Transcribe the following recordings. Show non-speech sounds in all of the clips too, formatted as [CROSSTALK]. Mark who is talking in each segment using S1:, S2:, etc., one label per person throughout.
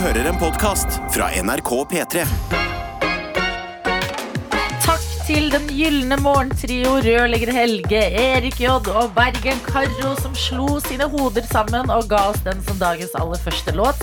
S1: hører en podkast fra NRK P3.
S2: Takk til den gylne morgentrio rørlegger Helge, Erik J og Bergen Karro som slo sine hoder sammen og ga oss den som dagens aller første låt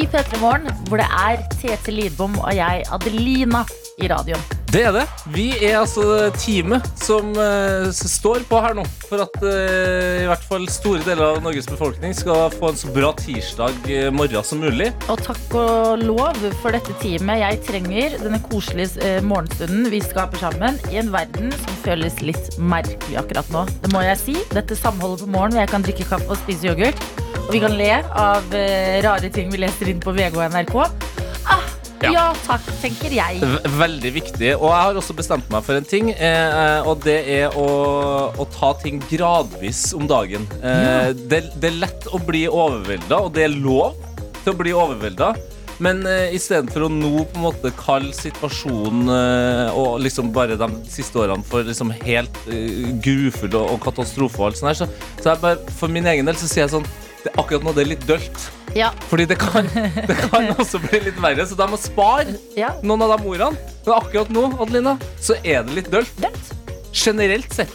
S2: i P3 Morgen, hvor det er Tete Lidbom og jeg, Adelina, i radioen.
S3: Det er det. Vi er altså teamet som eh, s- står på her nå for at eh, i hvert fall store deler av Norges befolkning skal få en så bra tirsdag eh, morgen som mulig.
S2: Og takk og lov for dette teamet jeg trenger denne koselige eh, morgenstunden vi skaper sammen i en verden som føles litt merkelig akkurat nå. Det må jeg si. Dette samholdet på morgenen hvor jeg kan drikke kaffe og spise yoghurt, og vi kan le av eh, rare ting vi leser inn på VG og NRK. Ah,
S3: Ja.
S2: ja. takk, tenker jeg.
S3: V veldig viktig. Og jeg har også bestemt meg for en ting, eh, og det er å, å ta ting gradvis om dagen. Eh, det, det er lett å bli overvelda, og det er lov til å bli overvelda. Men eh, istedenfor å nå på en måte kalle situasjonen eh, og liksom bare de siste årene for liksom helt eh, grufull og, og katastrofe og alt sånt her, så, så jeg bare, for min egen del så sier jeg sånn det, Akkurat nå det er litt dølt.
S2: Ja.
S3: Fordi det kan, det kan også bli litt verre, så de må spare
S2: ja.
S3: noen av de ordene. Men akkurat nå Adelina, så er det litt dølt.
S2: Dødt.
S3: Generelt sett.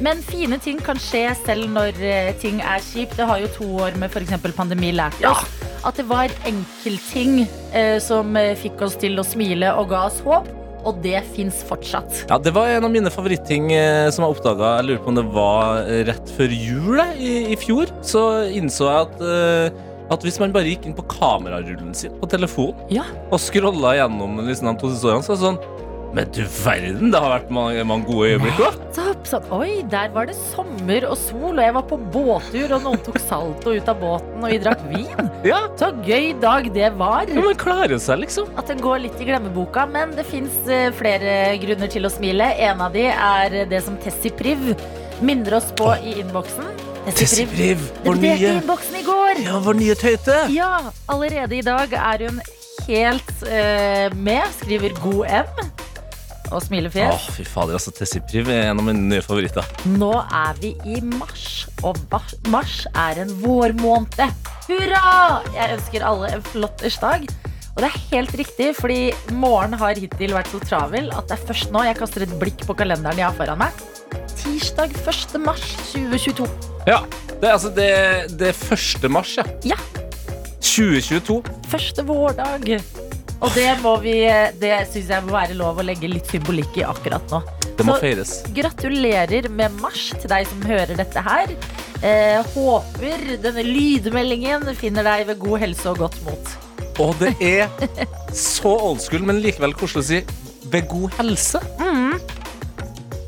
S2: Men fine ting kan skje selv når eh, ting er kjipt. Det har jo to år med f.eks. pandemi lært oss. At det var enkeltting eh, som eh, fikk oss til å smile og ga oss håp. Og det fins fortsatt.
S3: Ja, Det var en av mine favoritting eh, som jeg oppdaga. Jeg lurer på om det var eh, rett før jul eh, i, i fjor. Så innså jeg at, eh, at hvis man bare gikk inn på kamerarullen sin på telefonen
S2: Ja.
S3: og scrolla gjennom liksom, de to siste årene, så er det sånn Men du verden, det har vært mange, mange gode øyeblikk òg.
S2: Nettopp! Sånn, oi, der var det sommer og sol, og jeg var på båttur, og noen tok salto ut av båten, og vi drakk vin.
S3: Ja.
S2: Så gøy dag det var.
S3: ja, man klarer seg, liksom.
S2: At den går litt i glemmeboka, men det fins flere grunner til å smile. En av de er det som Tessie Priv minner oss på i innboksen.
S3: Tessie Priv,
S2: Det
S3: vår
S2: ble
S3: nye,
S2: innboksen i går!
S3: ja, vår nye tøyte.
S2: Ja, allerede i dag er hun helt eh, med. Skriver 'god M' og
S3: Åh,
S2: smilefjes.
S3: fy fader, altså Tessie Priv er en av mine nye favoritter.
S2: Nå er vi i mars, og ba- mars er en vårmåned. Hurra! Jeg ønsker alle en flotters dag. Og det er helt riktig, fordi morgen har hittil vært så travel at det er først nå jeg kaster et blikk på kalenderen jeg har foran meg. Tirsdag 1. mars 2022.
S3: Ja, det er altså det, det er 1. mars, ja.
S2: Ja.
S3: 2022.
S2: Første vårdag. Og det, må vi, eh, det syns jeg må være lov å legge litt symbolikk i akkurat nå.
S3: Det må
S2: Så-
S3: feires.
S2: Gratulerer med mars til deg som hører dette her. Eh, håper denne lydmeldingen finner deg ved god helse og godt mot.
S3: Og det er så old school, men likevel koselig å si ved god helse.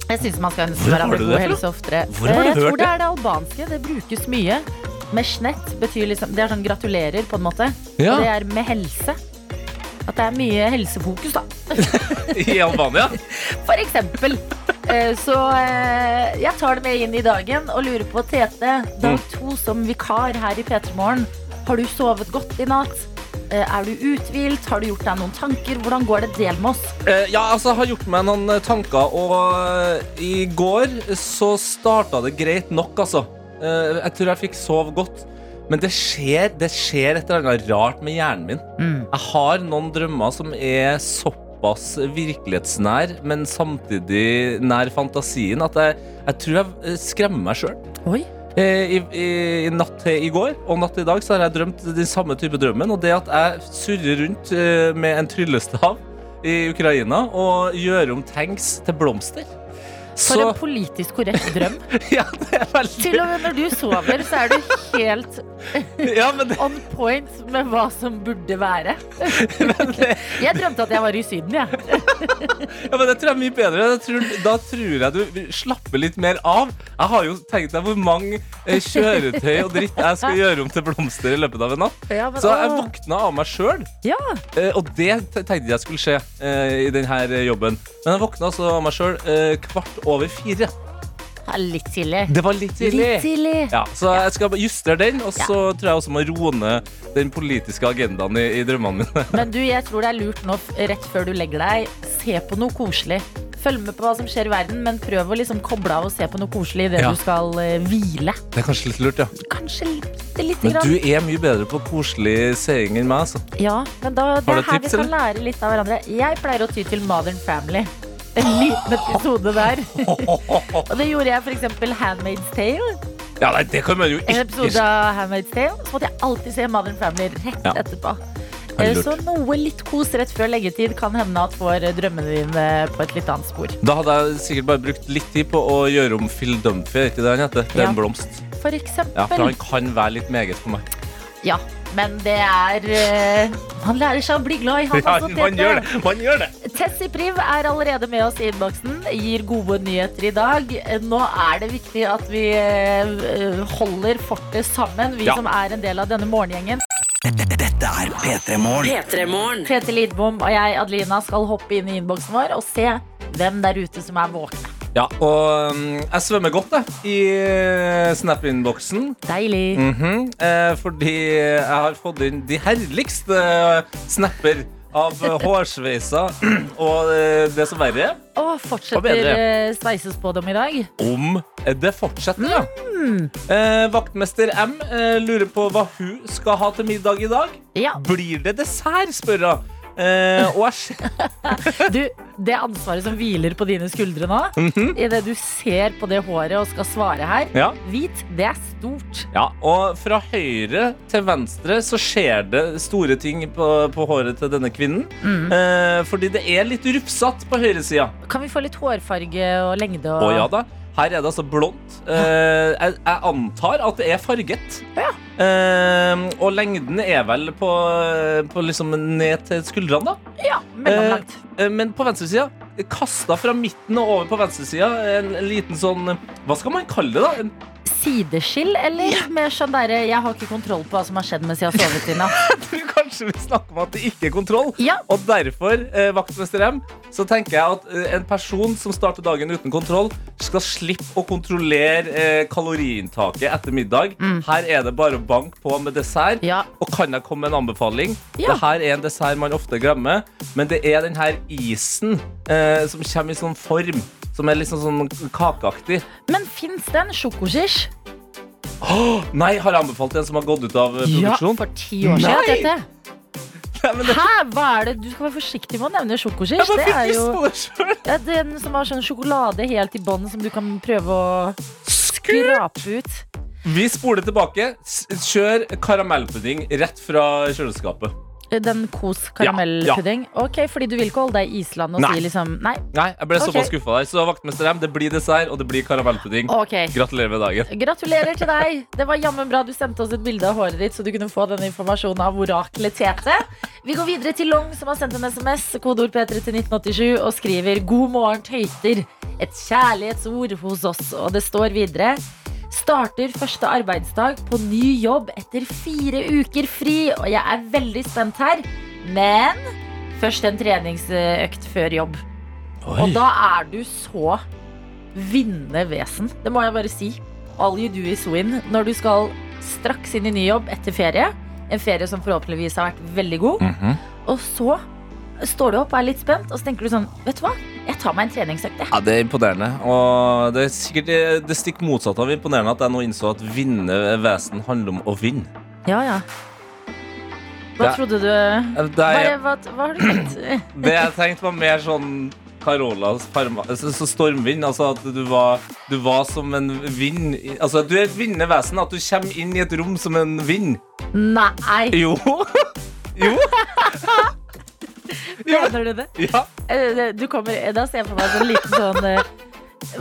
S2: Jeg syns man skal ønske
S3: Hvor har
S2: hverandre
S3: du
S2: god
S3: det fra?
S2: helse oftere.
S3: Hvor
S2: Eh,
S3: har du
S2: jeg
S3: hørt
S2: tror det er det albanske. Det brukes mye. Meshnett betyr liksom Det er sånn gratulerer, på en måte. Og det
S3: Ja,
S2: er med helse. At det er mye helsefokus, da.
S3: [LAUGHS] I Albania.
S2: For eksempel. Eh, Så eh, jeg tar det med inn i dagen og lurer på Tete, dag
S3: Mm.
S2: to som vikar her i P3 Morgen. Har du sovet godt i natt? Eh, Er du uthvilt? Har du gjort deg noen tanker? Hvordan går det? Del med oss.
S3: Eh, Ja, altså, jeg har gjort meg noen eh, tanker, og eh, i går så starta det greit nok, altså. Eh, Jeg tror jeg fikk sove godt. Men det skjer, det skjer et eller annet rart med hjernen min. Jeg har noen drømmer som er såpass virkelighetsnær, men samtidig nær fantasien, at jeg, jeg tror jeg eh, skremmer meg sjøl.
S2: Oi.
S3: I, i, I natt til i går og natt til i dag så har jeg drømt den samme type drømmen. Og det at jeg surrer rundt eh, med en tryllestav i Ukraina og gjør om tanks til blomster.
S2: For
S3: Så [LAUGHS]
S2: en politisk korrekt drøm.
S3: Ja, det er veldig
S2: Til og med når du sover, så er du helt
S3: Ja, men det,
S2: on point med hva som burde være. Jeg drømte at jeg var i Syden, jeg.
S3: Ja, men det tror jeg er mye bedre. Jeg tror, da tror jeg du slapper litt mer av. Jeg har jo tenkt deg hvor mange eh, kjøretøy og dritt jeg skal gjøre om til blomster i løpet av en natt.
S2: Ja, men,
S3: Så eh, jeg
S2: åh.
S3: våkna av meg sjøl, eh,
S2: Ja.
S3: og det te- tenkte jeg skulle skje eh, i denne jobben. Men jeg våkna altså av meg sjøl kvart over fire.
S2: Ja, Litt tidlig.
S3: Det var litt
S2: Litt
S3: tidlig.
S2: tidlig.
S3: Ja, så jeg skal bare justere den, og
S2: Ja.
S3: så tror jeg også må roe ned den politiske agendaen i, i drømmene mine.
S2: Men du, jeg tror det er lurt nå f- rett før du legger deg, se på noe koselig. Følg med på hva som skjer i verden, men prøv å liksom koble av og se på noe koselig idet
S3: Ja.
S2: du skal eh, hvile.
S3: Det er kanskje litt lurt, ja.
S2: Kanskje litt, lite
S3: Men
S2: grann.
S3: du er mye bedre på koselig seing enn meg, altså.
S2: Ja, men da, det
S3: Har
S2: er
S3: du
S2: her
S3: tips,
S2: vi kan lære litt av hverandre. Jeg pleier å ty til Modern Family. En liten episode der. og det gjorde jeg f.eks. Handmaid's Tale.
S3: Ja, nei, det kan man jo
S2: En
S3: ikke
S2: episode av Handmaid's Tale. Så måtte jeg alltid se Modern Family rett
S3: Ja.
S2: etterpå. Eh,
S3: Det er lurt.
S2: Så noe litt kos rett før leggetid kan hende at får drømmene dine på et litt annet spor.
S3: Da hadde jeg sikkert bare brukt litt tid på å gjøre om Phil Dumphy, er ikke det han heter? Det er
S2: Ja.
S3: en blomst.
S2: For
S3: Ja, for
S2: eksempel.
S3: han kan være litt meget for meg.
S2: Ja, men det er eh, Han lærer seg å bli glad i
S3: [LAUGHS]
S2: han. altså, Tete.
S3: det! Man gjør det.
S2: Tessie Priv er allerede med oss i innboksen. Gir gode nyheter i dag. Nå er det viktig at vi eh, holder fortet sammen, vi
S3: Ja.
S2: som er en del av denne morgengjengen.
S1: Dette er P3 Morgen.
S4: P3-morgen.
S2: Tete Lidbom og jeg, Adelina, skal hoppe inn i innboksen vår og se hvem der ute som er våkne.
S3: Ja, og mm, jeg svømmer godt, jeg, i eh, Snap-innboksen.
S2: Deilig.
S3: Mhm, eh, fordi jeg har fått inn de herligste eh, snapper av eh, hårsveiser [CLEARS THROAT] og eh, det som verre er,
S2: Og
S3: Og
S2: fortsetter
S3: bedre.
S2: eh, sveisespådom i dag.
S3: om eh, det fortsetter. Ja.
S2: Mm.
S3: Eh, vaktmester M eh, lurer på hva hun skal ha til middag i dag.
S2: Ja,
S3: Blir det dessert, spør hun. Eh, og jeg ser
S2: du, Det ansvaret som hviler på dine skuldre nå, idet du ser på det håret og skal svare her,
S3: ja.
S2: hvit, det er stort.
S3: ja, og fra høyre til venstre så skjer det store ting på, på håret til denne kvinnen. Eh, fordi det er litt rufsete på høyresida.
S2: Kan vi få litt hårfarge og lengde?
S3: Å
S2: Og...
S3: ja da. Her er det altså blondt. Eh, jeg, jeg antar at det er farget. Eh, og lengden er vel på, på liksom ned til skuldrene, da.
S2: Ja, mellomlangt.
S3: Eh, men på venstresida Kasta fra midten og over på venstresida. En liten sånn Hva skal man kalle det, da? En,
S2: Sideskill, eller mer sånn derre Jeg har ikke kontroll på hva som har skjedd mens jeg har sovet i
S3: [LAUGHS]
S2: natt.
S3: jeg tror kanskje vi snakker om at det ikke er kontroll.
S2: Ja.
S3: Og derfor, eh, vaktmester M, så tenker jeg at eh, en person som starter dagen uten kontroll, skal slippe å kontrollere eh, kaloriinntaket etter middag. Her er det bare å banke på med dessert.
S2: Mm. Ja.
S3: Og kan jeg komme med en anbefaling?
S2: Ja.
S3: Dette er en dessert man ofte glemmer, men det er den her isen eh, som kommer i sånn form. Som er liksom sånn kakeaktig.
S2: Men fins den sjokoskish?
S3: Nei, har jeg anbefalt en som har gått ut av eh, produksjon?
S2: for ti år siden.
S3: Nei!
S2: Dette.
S3: Nei, men det,
S2: Hæ, hva er det? Du skal være forsiktig med å nevne
S3: jeg
S2: sjokoskish.
S3: bare
S2: Det
S3: fikk
S2: er jo
S3: lyst på det sjøl.
S2: det er den som har sånn sjokolade helt i bånn som du kan prøve å skrape ut.
S3: Vi spoler tilbake. S kjør karamellpudding rett fra kjøleskapet.
S2: Eh, Den kos karamellpudding. Ok, fordi du vil ikke holde deg i Island og
S3: Nei.
S2: si liksom Nei,
S3: Nei, jeg ble
S2: Ok.
S3: såpass skuffa der. Så vaktmester M, det blir dessert, og det blir karamellpudding.
S2: ok.
S3: Gratulerer med dagen.
S2: Gratulerer til deg. Det var jammen bra du sendte oss et bilde av håret ditt, så du kunne få den informasjonen av oraklet Tete. Vi går videre til Long, som har sendt en SMS, kodeord P3 til 1987, og skriver 'God morgen, tøyter'. Et kjærlighetsord hos oss. Og det står videre Starter første arbeidsdag på ny jobb etter fire uker fri, og jeg er veldig spent her. Men først en treningsøkt før jobb. Og da er du så vinnende vesen. Det må jeg bare si. All you do is win. Når du skal straks inn i ny jobb etter ferie, en ferie som forhåpentligvis har vært veldig god,
S3: Mhm.
S2: og så står du opp og er litt spent, og så tenker du sånn Vet du hva, jeg tar meg en treningsøkt, jeg.
S3: Ja, Det er imponerende. Og det er sikkert eh, det- det stikk motsatte av imponerende at jeg nå innså at vinne vesen handler om å vinne.
S2: Ja, ja. Hva
S3: Det-
S2: trodde du
S3: Det
S2: Bare,
S3: jeg,
S2: hva, hva har du tenkt?
S3: det jeg tenkte, var mer sånn Carolas farma, så så stormvind. Altså at du var, du var som en vind i- Altså at du er et vinnende vesen. At du kommer inn i et rom som en vind.
S2: Nei,
S3: Jo. Jo. Jo.
S2: mener du det?
S3: [LAUGHS] Ja.
S2: Eh, det- Du kommer, da ser jeg for meg en sånn liten sånn eh,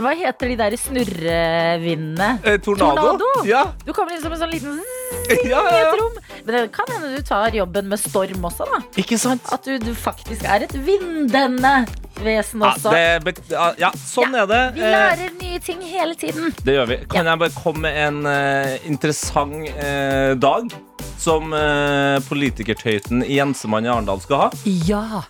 S2: Hva heter de der snurrevindene?
S3: Eh, Tornado.
S2: Tornado?
S3: Ja.
S2: Du kommer inn som en sånn liten
S3: [LAUGHS] Ja, ja,
S2: i
S3: ja.
S2: et rom. Men det kan hende du tar jobben med storm også, da.
S3: Ikke sant?
S2: At du, du faktisk er et vindende vesen også.
S3: Ja, det, be- ja, Altså- ja, sånn er det.
S2: Vi
S3: Eh,
S2: lærer nye ting hele tiden.
S3: Det gjør vi. Kan jeg bare komme med en eh, interessant eh, dag som eh, politikertøyten Jensemann i Arendal skal ha?
S2: Ja.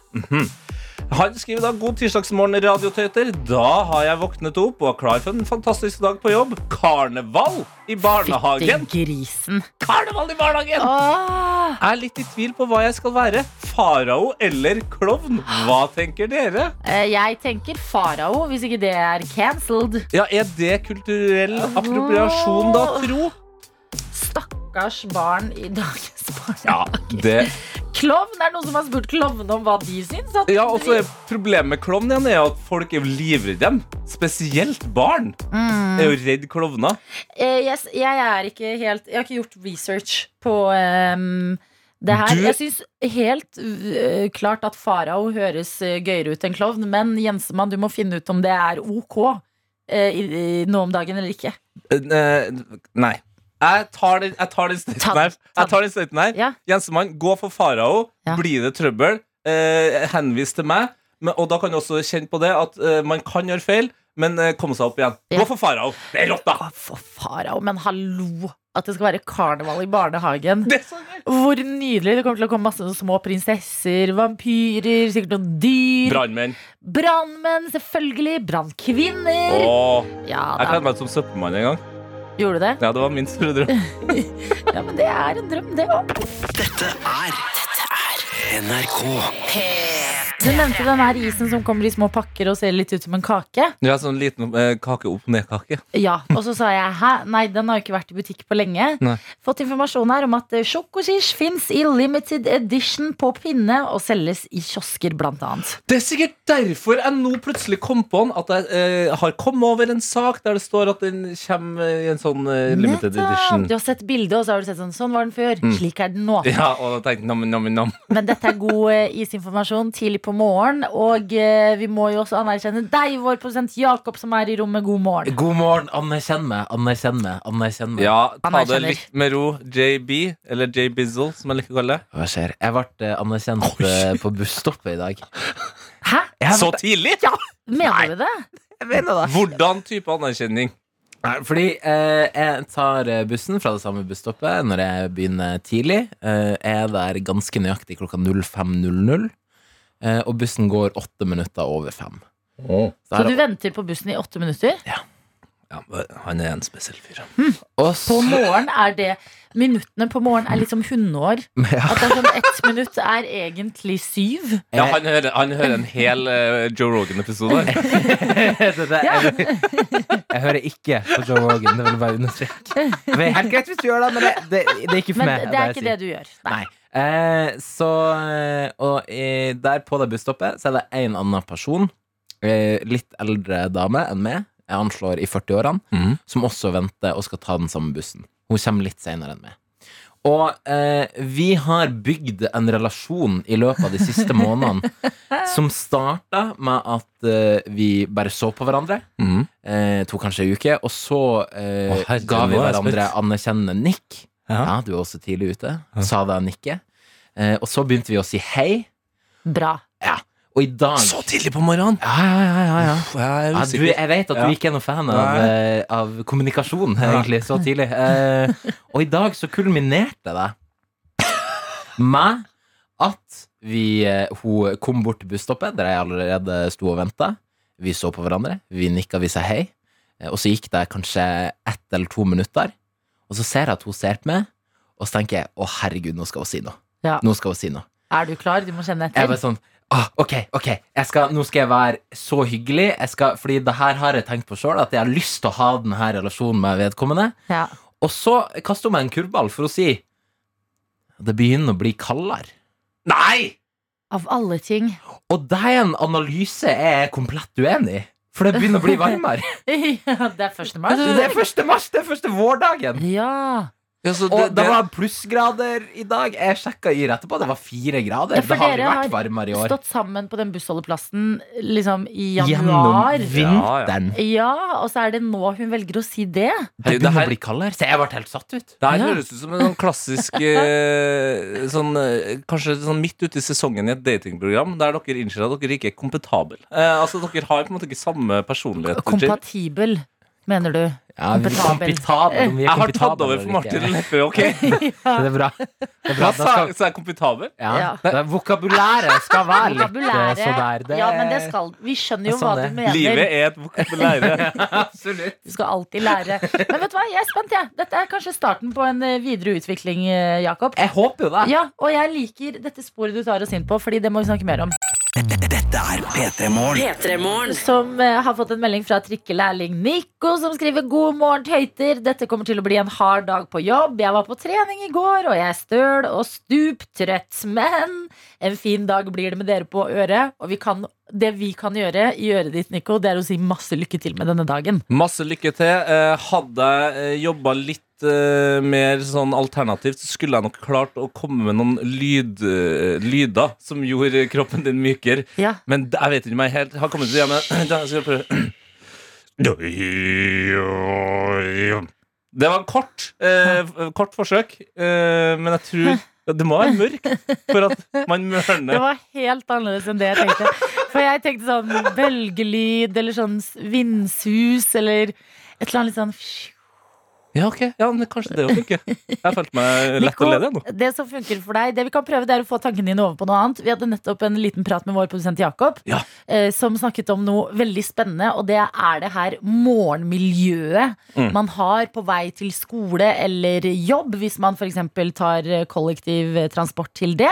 S3: Han skriver da 'God tirsdagsmorgen, radiotøyter'. Da har jeg våknet opp og er klar for en fantastisk dag på jobb. Karneval i barnehagen!
S2: Fytti grisen.
S3: Karneval i barnehagen!
S2: Åh,
S3: Jeg er litt i tvil på hva jeg skal være. Farao eller klovn? Hva tenker dere?
S2: eh, jeg tenker farao, hvis ikke det er cancelled.
S3: Ja, Er det kulturell appropriasjon, da, tro?
S2: Stakkars barn i dagens barn.
S3: Ja, det
S2: Klovn er det noen som har spurt klovnene om hva de syns. at-
S3: Ja, og så er Problemet med klovn igjen er at folk er jo livredde dem. Spesielt barn
S2: Mm.
S3: er jo redd klovner.
S2: Eh, yes, jeg er ikke helt Jeg har ikke gjort research på ehm, det her.
S3: Du-
S2: Jeg syns helt øh, klart at farao høres øh, gøyere ut enn klovn, men Jensemann, du må finne ut om det er ok eh, i, i, nå om dagen eller ikke.
S3: Eh, Nei. Jeg tar den, jeg tar den
S2: Ta
S3: støyten
S2: den,
S3: her.
S2: ta
S3: Jeg tar den støyten her.
S2: Ja.
S3: Jensemann, gå for farao.
S2: Ja.
S3: Blir det trøbbel, eh, henvis til meg. Men, og da kan du også kjenne på det at eh, man kan gjøre feil, men eh, komme seg opp igjen.
S2: Ja.
S3: Gå for farao. Det er rått, da!
S2: Å, for farao, men hallo! At det skal være karneval i barnehagen.
S3: Det er så gøy.
S2: Hvor nydelig! Det kommer til å komme masse sånne små prinsesser, vampyrer, sikkert noen dyr.
S3: Brannmenn.
S2: Brannmenn, selvfølgelig. Brannkvinner.
S3: Åh,
S2: Ja,
S3: Jeg
S2: da,
S3: kledde meg ut som søppelmann en gang.
S2: gjorde du det?
S3: Ja, det var min store drøm.
S2: Ja, men det er en drøm, det òg.
S1: Dette er NRK.
S2: Du nevnte den her isen som kommer i små pakker og ser litt ut som en kake.
S3: [LAUGHS] Du har sånn liten eh, kake opp ned-kake.
S2: Ja, Og så sa jeg hæ, nei, den har jo ikke vært i butikk på lenge.
S3: Nei.
S2: Fått informasjon her om at eh, sjokosish fins i limited edition på pinne og selges i kiosker, blant annet.
S3: Det er sikkert derfor jeg nå plutselig kom på den at jeg eh, har kommet over en sak der det står at den kommer eh, i en sånn eh, limited edition.
S2: Du har sett bildet, og så har du sett sånn. Sånn var den før. Slik er den nå.
S3: Ja, og da tenkte jeg nam, nam, nam.
S2: Men dette er god eh, isinformasjon tidlig på morgen. Og eh, vi må jo også anerkjenne deg, vår produsent Jakob, som er i rommet. God morgen.
S4: God morgen. Anerkjenn meg. Anerkjenn meg. Anerkjenn meg.
S3: Ja, ta det
S2: Anerkjenner.
S3: litt med ro. JB, eller J Bizzle, som jeg liker å kalle det.
S4: Hva skjer? Jeg ble eh, anerkjent eh, på busstoppet i dag.
S2: Hæ?
S4: Jeg
S3: Så tidlig!
S2: Mener du det?
S4: mener det.
S3: Hvordan type anerkjenning?
S4: Fordi eh, jeg tar eh, bussen fra det samme busstoppet når jeg begynner tidlig. Eh, jeg er der ganske nøyaktig klokka 05.00. Eh, og bussen går åtte minutter over fem. Så
S2: Så
S4: er
S2: du
S4: det-
S2: venter på bussen i åtte minutter?
S3: Ja, han er en spesiell fyr.
S4: og
S2: På
S4: så-
S2: morgen er det Minuttene på morgen er liksom hundeår.
S4: [LAUGHS] Ja.
S2: At det er sånn ett minutt er egentlig syv.
S3: Ja, han hører, han hører en hel eh, Joe Rogan-episode. [LAUGHS] her.
S4: Det der- [LAUGHS] [LAUGHS] jeg, jeg hører ikke på Joe Rogan. Det vil jeg bare understreke. Det er helt greit hvis du gjør det, men det, det, det er ikke for
S2: Men
S4: meg.
S2: det er
S4: jeg
S2: ikke
S4: sier.
S2: det du gjør. Nei.
S4: Nei. Eh, så eh, Og eh, der på det busstoppet Så er det en annen person eh, Litt eldre dame enn meg Jeg anslår i 40-årene
S3: Mhm.
S4: Som også venter og skal ta den samme bussen Hun kommer litt senere enn meg og eh, vi har bygd en relasjon i løpet av de siste månedene Som startet med at eh, vi bare så på hverandre
S3: Mhm.
S4: eh, Tok kanskje en uke Og så eh,
S3: Å, herregud,
S4: ga vi
S3: nå er jeg
S4: hverandre
S3: spent.
S4: anerkjennende nikk
S3: Ja.
S4: ja, du var også tidlig ute. Sa det han ikke. Eh, og så begynte vi å si hei,
S2: Bra.
S4: og i dag
S3: Så tidlig på morgenen!
S4: Ja, ja, ja, ja, ja.
S3: Uff, jeg er
S4: Ja, du,
S3: usikker.
S4: jeg vet at du
S3: Ja.
S4: ikke er noen fan av,
S3: Nei.
S4: eh, av kommunikasjon, egentlig, så tidlig. Eh, og i dag så kulminerte det med at vi, eh, hun kom bort til busstoppet, der jeg allerede sto og venta. Vi så på hverandre, vi nikka, vi sa hei. Eh, Og så gikk det kanskje ett eller to minutter, og så ser jeg at hun ser på meg, og så tenker jeg å herregud, nå skal hun si noe.
S2: Ja.
S4: Nå skal hun si noe.
S2: Er du klar? Du må kjenne
S4: Jeg
S2: etter.
S4: var sånn ah, Ok, ok jeg skal, Nå skal jeg være så hyggelig jeg skal, Fordi det her har jeg tenkt på selv At jeg har lyst til å ha denne relasjonen med vedkommende
S2: Ja.
S4: Og så kaster hun meg en kurvball for å si Det begynner å bli kaldere
S3: Nei!
S2: Av alle ting. [LAUGHS]
S4: Og det er en analyse jeg er komplett uenig i For det begynner å bli
S3: [LAUGHS]
S4: varmere
S2: ja, det er første mars.
S4: Det er første mars, det er første vårdagen
S2: Ja.
S3: Ja, så
S4: Og det
S3: det-
S4: var plussgrader i dag Jeg sjekket yr etterpå, det var fire grader
S2: Ja, for
S4: Det har aldri
S2: dere
S4: vært
S2: har
S4: varmere i år
S2: Stått sammen på den bussholdeplassen liksom i
S4: Gjennom
S2: januar.
S4: vinteren
S2: Ja, og så er det nå hun velger å si det.
S4: Det
S3: Herregud, det
S4: begynner
S3: her-
S4: å bli kaldere Så jeg ble helt satt ut
S3: Det her
S2: Ja.
S3: høres ut som en sånn klassisk eh, sånn, eh, Kanskje sånn midt ute i sesongen i et datingprogram der dere innser at dere ikke er kompetable. Eh, altså Dere har på en måte ikke samme personlighet. Jay.
S2: Kompatibel. mener du?
S4: Ja, vi er
S2: Kompetabel.
S4: kompitabel, om vi er
S3: Jeg har tatt
S4: kompitable
S3: over
S4: eller
S3: for
S4: ikke. [LAUGHS]
S3: Martin Leppe, OK?
S2: Ja.
S4: Det er bra. Det
S3: Hva
S4: er bra. Da
S3: sa
S4: skal,
S3: sa jeg kompitabel?
S4: ja.
S2: Ja.
S4: Det er vokabulæret skal være litt eh,
S2: Vokabulæret.
S4: så der. Det,
S2: Ja, men det skal Vi skjønner
S4: det
S2: jo
S4: er
S2: hva
S4: sånn
S2: du
S4: det-
S2: mener.
S3: Livet er et vokabulære.
S4: Absolutt.
S2: Du skal alltid lære. Men vet du hva, jeg er spent, jeg. Dette er kanskje starten på en eh, videre utvikling, eh, Jakob.
S4: Jeg håper jo det.
S2: Ja, og jeg liker dette sporet du tar oss inn på, Fordi det må vi snakke mer om.
S1: Dette er P3 Morgen.
S2: Som eh, har fått en melding fra trikkelærling Nico, som skriver 'God morgen, tøyter'. Dette kommer til å bli en hard dag på jobb. Jeg var på trening i går, og jeg er støl og stuptrøtt. Men en fin dag blir det med dere på øret. Og vi kan, det vi kan gjøre i øret ditt, Nico, det er å si masse lykke til med denne dagen.
S3: Masse lykke til. Eh, Hadde jeg jobba litt eh, mer sånn alternativt, så skulle jeg nok klart å komme med noen lyd, eh, lyder som gjorde kroppen din mykere.
S2: Ja.
S3: Men d- jeg vet ikke om jeg helt har kommet til det. Men [CLEARS THROAT] da skal jeg prøve. Det var en kort, eh, f- kort forsøk, eh, men jeg tror ja, Det må være mørkt for at man
S2: Det
S3: mørner.
S2: var helt annerledes enn det jeg tenkte. For jeg tenkte sånn bølgelyd eller sånn s- vindsus eller et eller annet litt sånn fju.
S3: Ja, ok. Ja, men kanskje det òg funker. Jeg følte meg lett
S2: Nico,
S3: og ledig nå.
S2: det som funker for deg, det vi kan prøve, det er å få tankene dine over på noe annet. Vi hadde nettopp en liten prat med vår produsent Jakob,
S3: Ja.
S2: eh, som snakket om noe veldig spennende, og det er det her morgenmiljøet
S3: Mm.
S2: man har på vei til skole eller jobb, hvis man f.eks. tar eh, kollektiv eh, transport til det,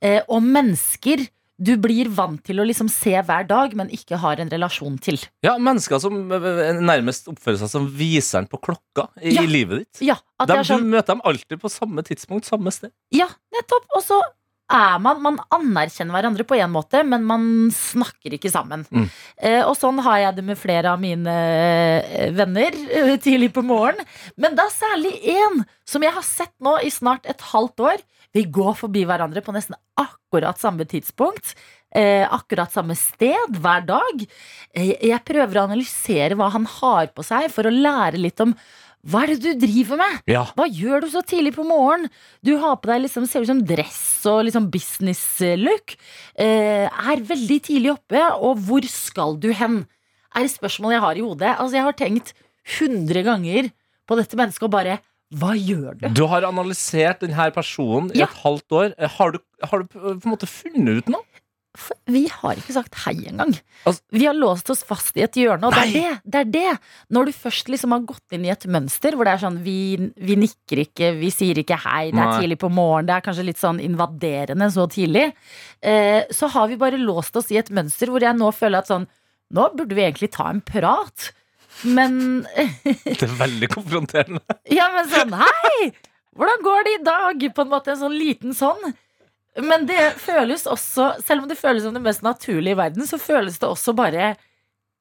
S2: eh, og mennesker du blir vant til å liksom se hver dag, men ikke har en relasjon til.
S3: Ja, mennesker som ø, ø, nærmest oppfører seg som viseren på klokka i,
S2: Ja.
S3: i livet ditt.
S2: Ja, at
S3: De,
S2: det er sånn
S3: Du møter dem alltid på samme tidspunkt, samme sted.
S2: Ja, nettopp. Og så er man Man anerkjenner hverandre på én måte, men man snakker ikke sammen.
S3: Mm.
S2: Eh, og sånn har jeg det med flere av mine eh, venner eh, tidlig på morgenen. Men da særlig én som jeg har sett nå i snart et halvt år. Vi går forbi hverandre på nesten akkurat samme tidspunkt. Eh, akkurat samme sted hver dag. Eh, jeg prøver å analysere hva han har på seg, for å lære litt om hva er det du driver med?
S3: Ja.
S2: Hva gjør du så tidlig på morgenen? Du har på deg liksom, ser ut som dress og liksom business look. Eh, er veldig tidlig oppe, og hvor skal du hen? Er et spørsmål jeg har i hodet. Altså, jeg har tenkt 100 ganger på dette mennesket og bare Hva gjør du?
S3: Du har analysert denne personen i
S2: Ja.
S3: et halvt år. Eh, Har du, har du på en måte funnet ut
S2: [LAUGHS]
S3: noe?
S2: For vi har ikke sagt hei engang.
S3: Altså-
S2: vi har låst oss fast i et hjørne, og det er det, det er det. Når du først liksom har gått inn i et mønster hvor det er sånn vi, vi nikker ikke, vi sier ikke hei, det er
S3: Nei.
S2: tidlig på morgenen, det er kanskje litt sånn invaderende så tidlig, eh, så har vi bare låst oss i et mønster hvor jeg nå føler at sånn Nå burde vi egentlig ta en prat. Men
S3: Det er veldig konfronterende.
S2: ja, men sånn, hei! Hvordan går det i dag? På en måte en sånn liten sånn. Men det føles også, selv om det føles som det mest naturlige i verden, så føles det også bare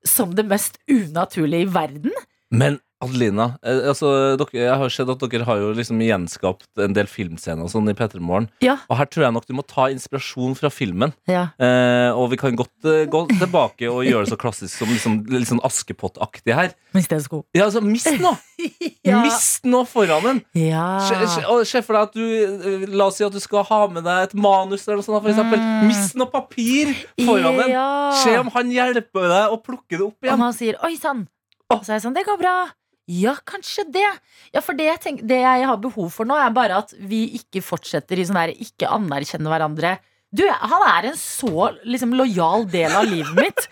S2: som det mest unaturlige i verden.
S3: Men Adelina, eh, altså, dere, jeg har sett at dere har jo liksom gjenskapt en del filmscener og sånn i P3 Morgen.
S2: Ja.
S3: Og her tror jeg nok du må ta inspirasjon fra filmen.
S2: Ja.
S3: Eh, og vi kan godt eh, gå tilbake og gjøre det så klassisk som liksom, litt sånn Askepott-aktig her.
S2: Mistensko.
S3: Ja, altså, mist nå!
S2: [LAUGHS] Ja.
S3: Mist nå foran den!
S2: ja.
S3: Se se- og se for deg at du eh, La oss si at du skal ha med deg et manus eller noe sånt, for eksempel. Mist noe papir foran den!
S2: Ja.
S3: Se om han hjelper deg å plukke det opp
S2: Om
S3: igjen.
S2: han sier 'oi sann', og så er jeg sånn 'det går bra'. Ja, kanskje det. Ja, for det jeg, tenk, det jeg har behov for nå, er bare at vi ikke fortsetter i sånn her ikke anerkjenne hverandre. Du, han er en så liksom lojal del av livet mitt.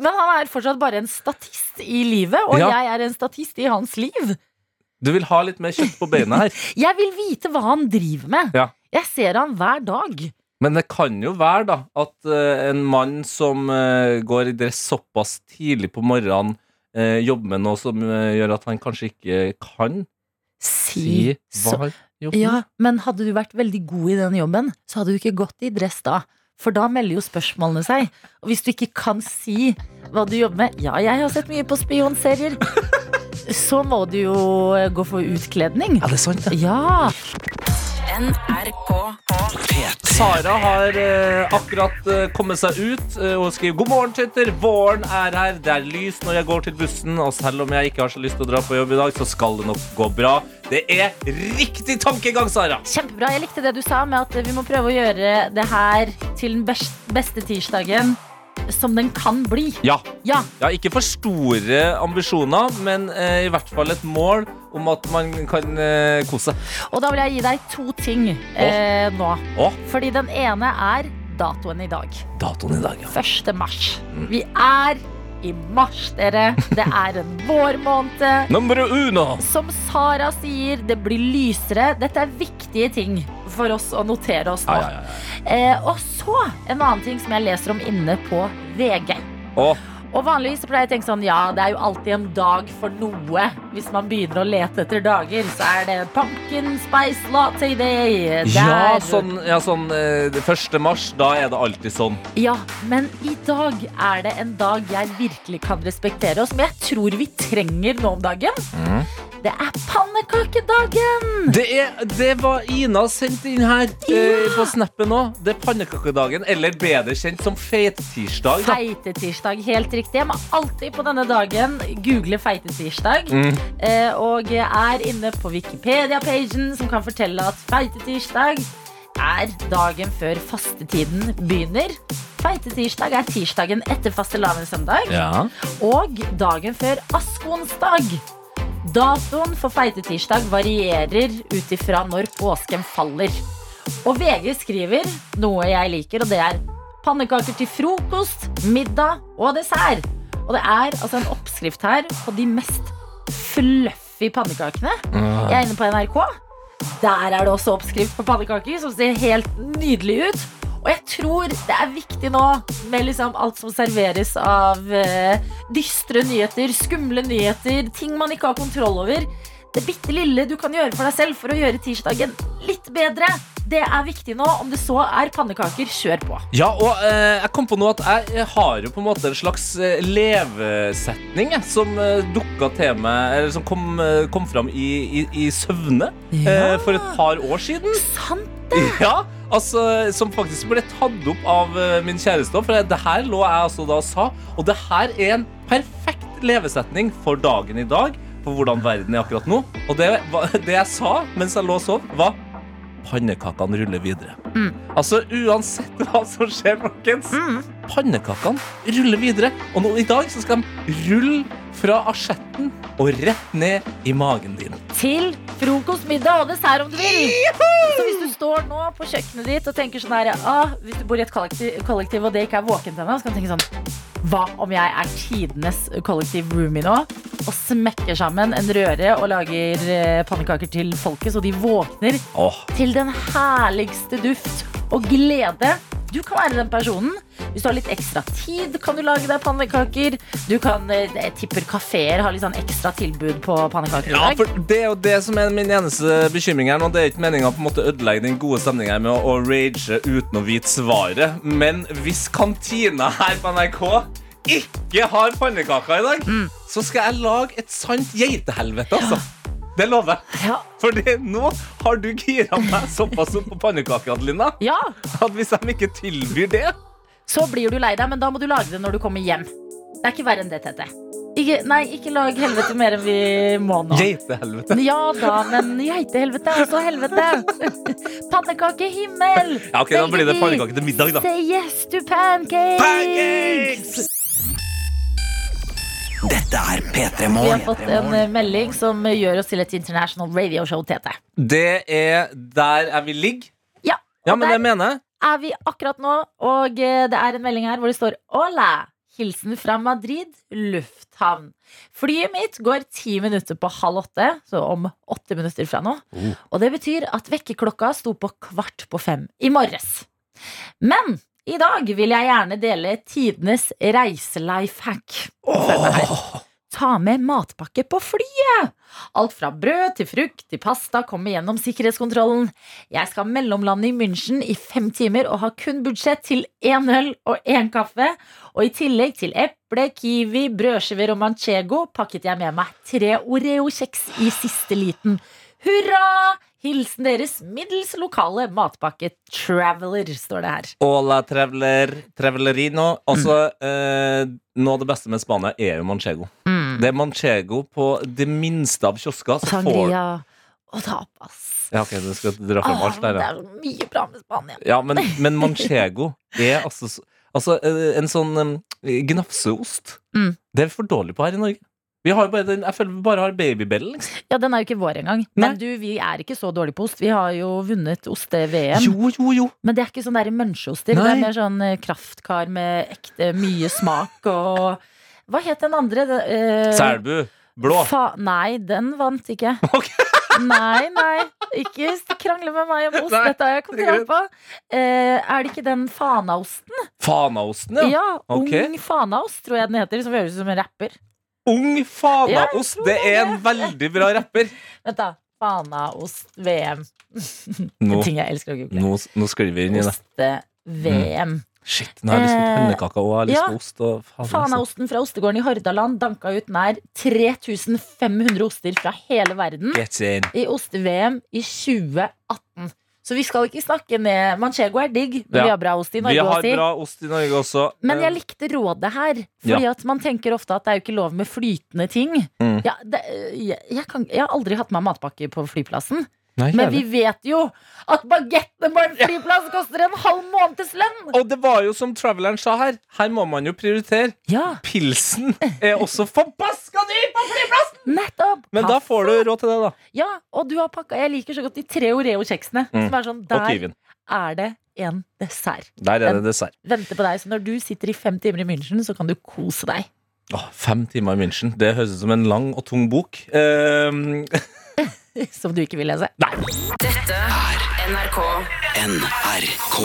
S2: Men han er fortsatt bare en statist i livet, og
S3: Ja.
S2: jeg er en statist i hans liv.
S3: Du vil ha litt mer kjøtt på beina her.
S2: Jeg vil vite hva han driver med.
S3: Ja.
S2: Jeg ser han hver dag.
S3: Men det kan jo være da at eh, en mann som eh, går i dress såpass tidlig på morgenen, eh, jobber med noe som eh, gjør at han kanskje ikke kan
S2: Si,
S3: si
S2: så
S3: hva han jobber
S2: Ja,
S3: med.
S2: men hadde du vært veldig god i den jobben, så hadde du ikke gått i dress da. For da melder jo spørsmålene seg. Og hvis du ikke kan si hva du jobber med Ja, jeg har sett mye på spionserier. [LAUGHS] Så må du jo eh, gå for utkledning.
S3: Ja, det er sant, det.
S2: Ja.
S1: P3.
S3: Sara har eh, akkurat eh, kommet seg ut eh, og skriver God morgen, tøyter. Våren er her. Det er lys når jeg går til bussen. Og selv om jeg ikke har så lyst til å dra på jobb i dag, så skal det nok gå bra. Det er riktig tankegang, Sara.
S2: Kjempebra. Jeg likte det du sa med at vi må prøve å gjøre det her til den best- beste tirsdagen som den kan bli.
S3: Ja.
S2: Ja,
S3: Ja, ikke for store ambisjoner, men eh, i hvert fall et mål om at man kan eh, kose seg.
S2: Og da vil jeg gi deg to ting eh, nå.
S3: Å,
S2: Fordi den ene er datoen i dag.
S3: datoen i dag, ja.
S2: 1. mars.
S3: Mm.
S2: Vi er i mars, dere. Det er
S3: [LAUGHS]
S2: en vårmåned.
S3: Nummer uno.
S2: Som Sara sier, det blir lysere. Dette er viktige ting for oss å notere oss nå.
S3: Ja, ja, ja, ja.
S2: Eh, og så en annen ting som jeg leser om inne på VG.
S3: Å,
S2: Og vanligvis så pleier jeg å tenke sånn, ja, det er jo alltid en dag for noe. Hvis man begynner å lete etter dager, så er det pumpkin spice latte day. Det
S3: ja,
S2: er-
S3: sånn, ja, sånn eh, 1. mars, da er det alltid sånn.
S2: Ja, men i dag er det en dag jeg virkelig kan respektere, og som jeg tror vi trenger nå om dagen. Det er pannekakedagen!
S3: Det, er, det var Ina sendt inn her eh, på snappen òg. Det er pannekakedagen, eller bedre kjent som feittirsdag. da.
S2: Feitetirsdag, helt riktig. Jeg må alltid på denne dagen google feitetirsdag. eh, Og er inne på Wikipedia-pagen, som kan fortelle at feitetirsdag er dagen før fastetiden begynner. Feitetirsdag er tirsdagen etter fastelavnssøndag
S3: Ja.
S2: og dagen før askonsdag. Datoen for feitetirsdag varierer ut ifra når påsken faller. Og VG skriver noe jeg liker, og det er pannekaker til frokost, middag og dessert. Og det er altså en oppskrift her på de mest fluffy pannekakene. Jeg er inne på NRK. Der er det også oppskrift på pannekaker som ser helt nydelig ut. Og jeg tror det er viktig nå med liksom alt som serveres av eh, dystre nyheter, skumle nyheter, ting man ikke har kontroll over. Det bitte lille du kan gjøre for deg selv for å gjøre tirsdagen litt bedre, det er viktig nå. Om det så er pannekaker, kjør på.
S3: Ja, og eh, jeg kom på nå at jeg, jeg har jo på en måte en slags eh, levesetning jeg, som eh, dukka til meg, eller som kom, eh, kom fram i, i, i søvne eh, for et par år siden.
S2: Sant!
S3: [LAUGHS] Ja, altså, som faktisk ble tatt opp av eh, min kjæreste. også, For det her lå jeg altså da og sa, og det her er en perfekt levesetning for dagen i dag. For hvordan verden er akkurat nå. Og det, var- [LAUGHS] det jeg sa mens jeg lå og sov, var Pannekakene ruller videre. Altså uansett hva som skjer, folkens. Pannekakene ruller videre. Og nå i dag så skal de rulle fra asjetten og rett ned i magen din.
S2: til frokost, middag og dessert om du vil. Så hvis du står nå på kjøkkenet ditt og tenker sånn her ah, Hvis du bor i et kollektiv, kollektiv og det ikke er våkent ennå, så kan du tenke sånn Hva om jeg er tidenes kollektiv roomie nå? Og smekker sammen en røre og lager eh, pannekaker til folket, så de våkner
S3: Åh,
S2: til den herligste duft og glede. Du kan være den personen. Hvis du har litt ekstra tid, kan du lage deg pannekaker. Du kan, eh, jeg tipper kafeer har litt sånn ekstra tilbud på pannekaker. i
S3: Ja,
S2: dag.
S3: for det er jo det som er min eneste bekymring her nå. Det er ikke meningen å på en måte ødelegge den gode stemninga med å, å rage uten å vite svaret. Men hvis kantina her på NRK ikke har pannekaker i dag, så skal jeg lage et sant geitehelvete, altså. Det lover jeg.
S2: Ja.
S3: For nå har du gira meg såpass opp på pannekaker, Adelina,
S2: Ja,
S3: at hvis de ikke tilbyr det
S2: så blir du lei deg, men da må du lage det når du kommer hjem. Det er ikke verre enn det, Tete. Ikke, nei, ikke lag helvete mer enn vi må nå.
S3: Geitehelvete.
S2: Ja da, men geitehelvete er også helvete. [LAUGHS] Pannekakehimmel!
S3: Ja, ok, da blir det pannekaker til middag, da.
S2: Say yes to pancakes!
S3: Pancakes!
S1: Dette er P3
S2: Vi har fått en
S1: Morgen.
S2: eh, melding som eh, gjør oss til et international radio show, Tete.
S3: Det er der jeg vil ligge.
S2: Ja,
S3: Ja,
S2: og
S3: men
S2: der-
S3: det mener jeg.
S2: er vi akkurat nå, og eh, det er en melding her hvor det står Hola! Hilsen fra Madrid lufthavn. Flyet mitt går ti minutter på halv åtte, så om åtte minutter fra nå. Og det betyr at vekkerklokka sto på kvart på fem i morges. Men i dag vil jeg gjerne dele tidenes reiselife-hack. Følg med her. Ta med matpakke på flyet! Alt fra brød til frukt til pasta kommer gjennom sikkerhetskontrollen. Jeg skal mellomlande i München i fem timer og har kun budsjett til én øl og én kaffe. Og i tillegg til eple, kiwi, brødskiver og manchego pakket jeg med meg tre Oreo-kjeks i siste liten. Hurra! Hilsen deres middels lokale matpakke Traveler, står det her.
S3: Hola, traveler, travelerino. Altså, eh, noe av det beste med Spania er jo manchego.
S2: Mm.
S3: Det er manchego på det minste av kiosker. Så får...
S2: Sangria og tapas.
S3: Ja, ok, du skal dra fram
S2: Ah,
S3: alt
S2: det
S3: der, ja.
S2: er mye bra med Spania.
S3: ja men, men manchego er altså så Altså, eh, en sånn eh, gnafseost.
S2: Mm.
S3: Det er vi for dårlig på her i Norge. Vi har jo bare den, jeg føler vi bare har babybellen. Liksom.
S2: Ja, den er jo ikke vår engang.
S3: Nei.
S2: Men du, vi er ikke så dårlige på ost. Vi har jo vunnet oste-VM.
S3: Jo, jo, jo.
S2: Men det er ikke sånn der munnsjoster. Det
S3: Nei.
S2: er mer sånn eh, kraftkar med ekte mye smak og Hva het den andre? Det, eh,
S3: Selbu. Blå.
S2: Fa nei, den vant ikke.
S3: [LAUGHS] Ok.
S2: nei, nei. Ikke s- krangle med meg om ost.
S3: Nei,
S2: Dette har jeg kontroll på. Eh, er det ikke den fanaosten?
S3: Fanaosten,
S2: Ja.
S3: ja. ok.
S2: Ung fanaost, tror jeg den heter. Som høres ut som en rapper.
S3: Ung
S2: Ja,
S3: fanaost. det er en veldig bra rapper.
S2: Vent, da. Fanaost-VM.
S3: Nå,
S2: Ting jeg elsker å google.
S3: nå, nå sklir vi inn i det.
S2: Oste-VM.
S3: Shit, nå har jeg lyst på
S2: Eh,
S3: pannekaker og jeg har lyst
S2: ja.
S3: på ost. Og faen, altså.
S2: Fanaosten fra ostegården i Hordaland danka ut nær 3500 oster fra hele verden
S3: Get in.
S2: i oste-VM i 2018. Så vi skal ikke snakke ned Manchego er digg, men
S3: Ja.
S2: vi har bra ost i
S3: Vi
S2: Norge.
S3: har
S2: også.
S3: bra ost i Norge også.
S2: Men jeg
S3: Eh,
S2: likte rådet her. Fordi at man tenker ofte at det er jo ikke lov med flytende ting.
S3: Mm.
S2: Ja, det, eh, jeg, jeg, kan, jeg har aldri hatt med meg matpakke på flyplassen.
S3: nei,
S2: Men
S3: jævlig.
S2: vi vet jo at bagettene på en flyplass koster en halv måneds lønn!
S3: Og det var jo som Traveleren sa her, her må man jo prioritere.
S2: Ja,
S3: Pilsen er også forbaska dyr! på flyplassen!
S2: nettopp!
S3: Men da får du råd til det, da.
S2: Ja, og du har pakka Jeg liker så godt de tre Oreo-kjeksene.
S3: Mm.
S2: Som er sånn,
S3: Og
S2: Der
S3: Kiwien.
S2: er det en dessert.
S3: Der er det dessert.
S2: Venter på deg. Så når du sitter i fem timer i München, så kan du kose deg. [LAUGHS]
S3: Åh, fem timer i München. Det høres ut som en lang og tung bok. Ehm,
S2: Som du ikke vil lese.
S5: NRK
S1: NRK.